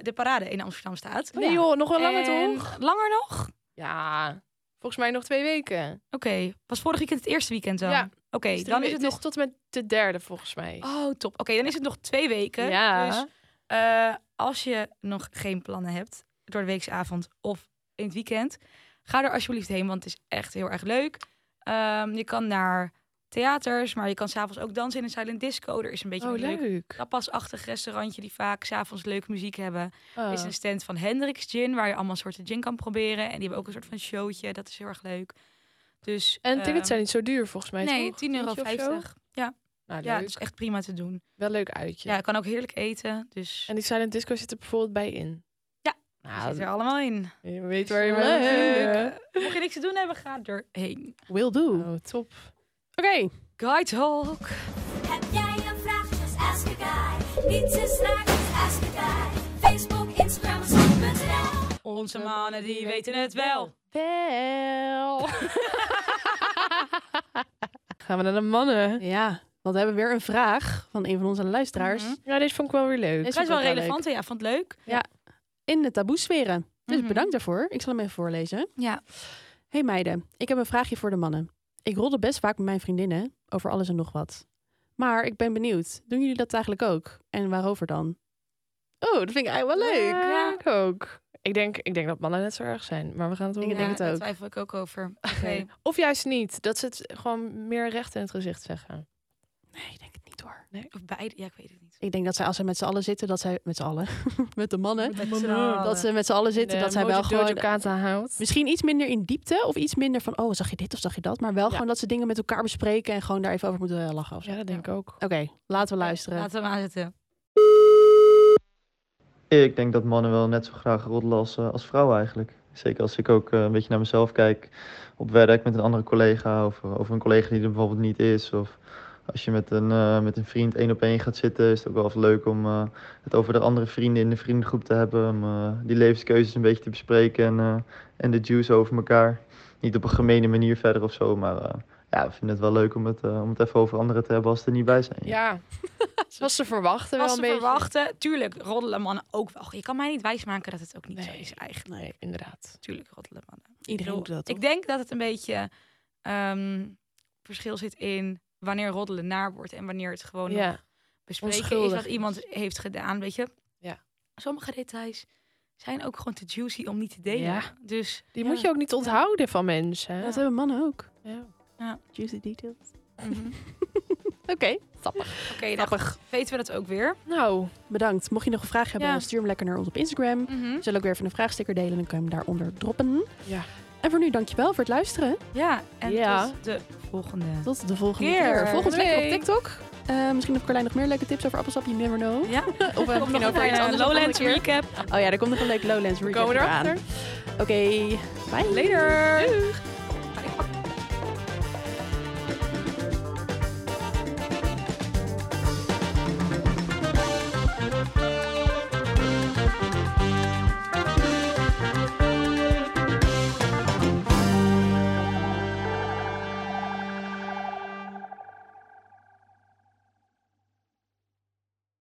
[SPEAKER 4] de parade in Amsterdam staat.
[SPEAKER 2] Oh Nee joh, nog wel langer
[SPEAKER 4] En-
[SPEAKER 2] toch?
[SPEAKER 4] Langer nog? Oké.
[SPEAKER 2] Ja, volgens mij nog twee weken.
[SPEAKER 4] Was vorig weekend het eerste weekend dan?
[SPEAKER 2] Ja.
[SPEAKER 4] Oké,
[SPEAKER 2] Dus
[SPEAKER 4] dan is het nog...
[SPEAKER 2] tot en met de derde volgens mij.
[SPEAKER 4] Oh, top. Oké, dan is het nog twee weken.
[SPEAKER 2] ja.
[SPEAKER 4] Dus eh, als je nog geen plannen hebt, door de weeksavond of in het weekend, ga er alsjeblieft heen, want het is echt heel erg leuk. Ehm, je kan naar theaters, maar je kan s'avonds ook dansen in een silent disco. Er is een beetje
[SPEAKER 2] oh,
[SPEAKER 4] een leuk
[SPEAKER 2] leuk.
[SPEAKER 4] tapasachtig restaurantje die vaak s'avonds leuke muziek hebben.
[SPEAKER 2] Oh.
[SPEAKER 4] Er is een stand van Hendrix Gin, waar je allemaal soorten gin kan proberen. En die hebben ook een soort van showtje, dat is heel erg leuk. Dus,
[SPEAKER 2] En tickets zijn
[SPEAKER 4] ehm,
[SPEAKER 2] niet zo duur volgens mij.
[SPEAKER 4] Nee,
[SPEAKER 2] toch?
[SPEAKER 4] 10,50 euro.
[SPEAKER 2] Tientje of zo? Nou,
[SPEAKER 4] Ja,
[SPEAKER 2] leuk.
[SPEAKER 4] dat is echt prima te doen.
[SPEAKER 2] Wel leuk uitje.
[SPEAKER 4] Ja, je kan ook heerlijk eten, dus
[SPEAKER 2] En die silent disco zit er bijvoorbeeld bij in.
[SPEAKER 4] Ja.
[SPEAKER 2] Nou,
[SPEAKER 4] zit er allemaal in.
[SPEAKER 2] je weet waar je
[SPEAKER 1] Leuk.
[SPEAKER 2] bent. vinden.
[SPEAKER 4] Mocht je niks te doen hebben, ga erheen.
[SPEAKER 1] will do. Oké.
[SPEAKER 2] Oh, top.
[SPEAKER 4] Guy Talk.
[SPEAKER 6] Heb jij een vraag? Just ask a guy. Niets is raar, just ask a guy. Facebook, Instagram, Snap.nl.
[SPEAKER 4] Onze mannen die weten het wel.
[SPEAKER 1] Wel.
[SPEAKER 2] Gaan we naar de mannen.
[SPEAKER 1] ja, Want we hebben weer een vraag van een van onze luisteraars.
[SPEAKER 4] Mhm.
[SPEAKER 2] Ja, dit vond ik wel weer leuk.
[SPEAKER 1] Is
[SPEAKER 4] Best wel
[SPEAKER 1] ook wel
[SPEAKER 4] relevant. hè? Ja, vond het leuk.
[SPEAKER 1] In de taboesferen. Dus
[SPEAKER 4] Mhm.
[SPEAKER 1] bedankt daarvoor. Ik zal hem even voorlezen.
[SPEAKER 4] Ja.
[SPEAKER 1] Hey meiden, ik heb een vraagje voor de mannen. Ik rolde best vaak met mijn vriendinnen over alles en nog wat. Maar ik ben benieuwd, doen jullie dat eigenlijk ook? En waarover dan? Oh, dat vind ik eigenlijk wel leuk.
[SPEAKER 2] Ja, ik ook. Ik denk, ik denk dat mannen net zo erg zijn, maar we gaan het horen.
[SPEAKER 1] Ik denk
[SPEAKER 4] Ja,
[SPEAKER 1] het
[SPEAKER 4] Daar
[SPEAKER 1] ook.
[SPEAKER 4] twijfel ik ook over. Oké.
[SPEAKER 2] Of juist niet, dat ze het gewoon meer recht in het gezicht zeggen.
[SPEAKER 1] Nee, ik denk het niet hoor.
[SPEAKER 4] Of beide, ja, ik weet het niet.
[SPEAKER 1] Ik denk dat zij als ze met z'n allen zitten, dat zij met z'n allen, met de mannen,
[SPEAKER 4] Met
[SPEAKER 2] mannen.
[SPEAKER 4] z'n allen.
[SPEAKER 1] dat ze met z'n allen zitten,
[SPEAKER 2] eh,
[SPEAKER 1] dat zij wel gewoon
[SPEAKER 2] houdt.
[SPEAKER 1] misschien iets minder in diepte of iets minder van, oh, zag je dit of zag je dat? Maar wel
[SPEAKER 2] Ja.
[SPEAKER 1] gewoon dat ze dingen met elkaar bespreken en gewoon daar even over moeten eh, lachen. of zo.
[SPEAKER 2] Ja, dat denk ik ook.
[SPEAKER 1] Oké, laten we luisteren.
[SPEAKER 4] Laten we hem aanzetten.
[SPEAKER 7] Ik denk dat mannen wel net zo graag roddelen als, eh, als vrouwen eigenlijk. Zeker als ik ook eh, een beetje naar mezelf kijk op werk met een andere collega of eh, over een collega die er bijvoorbeeld niet is. Of als je met een, eh, met een vriend één op één gaat zitten, is het ook wel even leuk om eh, het over de andere vrienden in de vriendengroep te hebben. Om eh, die levenskeuzes een beetje te bespreken en, eh, en de juice over elkaar. Niet op een gemene manier verder of zo, maar eh, ja, we vinden het wel leuk om het, eh, om het even over anderen te hebben als ze er niet bij zijn.
[SPEAKER 2] Ja, was te verwachten wel
[SPEAKER 4] Als ze
[SPEAKER 2] een beetje.
[SPEAKER 4] verwachten, tuurlijk, roddelen mannen ook wel. Je kan mij niet wijsmaken dat het ook niet zo
[SPEAKER 2] Nee.
[SPEAKER 4] is eigenlijk.
[SPEAKER 2] Nee, inderdaad.
[SPEAKER 4] Tuurlijk roddelen mannen. Ik
[SPEAKER 1] Iedereen
[SPEAKER 4] bedoel,
[SPEAKER 1] doet dat,
[SPEAKER 4] Ik denk dat het een beetje ehm, verschil zit in wanneer roddelen naar wordt en wanneer het gewoon nog
[SPEAKER 2] Ja,
[SPEAKER 4] bespreken is
[SPEAKER 2] Onschuldig
[SPEAKER 4] wat
[SPEAKER 2] is.
[SPEAKER 4] iemand heeft gedaan, weet je.
[SPEAKER 2] Ja.
[SPEAKER 4] Sommige details zijn ook gewoon te juicy om niet te delen.
[SPEAKER 2] Ja.
[SPEAKER 4] Dus
[SPEAKER 2] die
[SPEAKER 4] ja.
[SPEAKER 2] moet je ook niet onthouden van mensen.
[SPEAKER 1] Dat hebben mannen ook.
[SPEAKER 2] Ja.
[SPEAKER 1] Juicy details.
[SPEAKER 4] Mhm.
[SPEAKER 1] Oké,
[SPEAKER 4] Oké, nou, weten we dat ook weer.
[SPEAKER 2] Nou,
[SPEAKER 1] Bedankt. Mocht je nog een vraag hebben,
[SPEAKER 4] Ja.
[SPEAKER 1] dan stuur hem lekker naar ons op Instagram.
[SPEAKER 4] Mhm.
[SPEAKER 1] We zullen ook weer even een vraagsticker delen en dan kan je hem daaronder droppen.
[SPEAKER 2] Ja.
[SPEAKER 1] En voor nu, dankjewel voor het luisteren.
[SPEAKER 4] Ja, en
[SPEAKER 2] Ja.
[SPEAKER 4] tot de volgende.
[SPEAKER 1] Tot de volgende
[SPEAKER 4] Keer.
[SPEAKER 1] keer. Volg ons lekker op
[SPEAKER 2] Doei.
[SPEAKER 1] TikTok. Eh, misschien heeft Carlijn nog meer leuke tips over appelsap, you never know.
[SPEAKER 4] Ja,
[SPEAKER 1] Of eh,
[SPEAKER 4] Kom
[SPEAKER 1] misschien
[SPEAKER 4] nog
[SPEAKER 1] over
[SPEAKER 4] een
[SPEAKER 1] iets
[SPEAKER 4] eh,
[SPEAKER 1] anders. een
[SPEAKER 4] Lowlands
[SPEAKER 1] andere keer.
[SPEAKER 4] recap.
[SPEAKER 1] Oh ja, er komt nog een leuk Lowlands
[SPEAKER 2] we
[SPEAKER 1] recap
[SPEAKER 2] komen
[SPEAKER 1] eraan.
[SPEAKER 2] erachter.
[SPEAKER 1] Oké, bye. Later.
[SPEAKER 2] Doeg.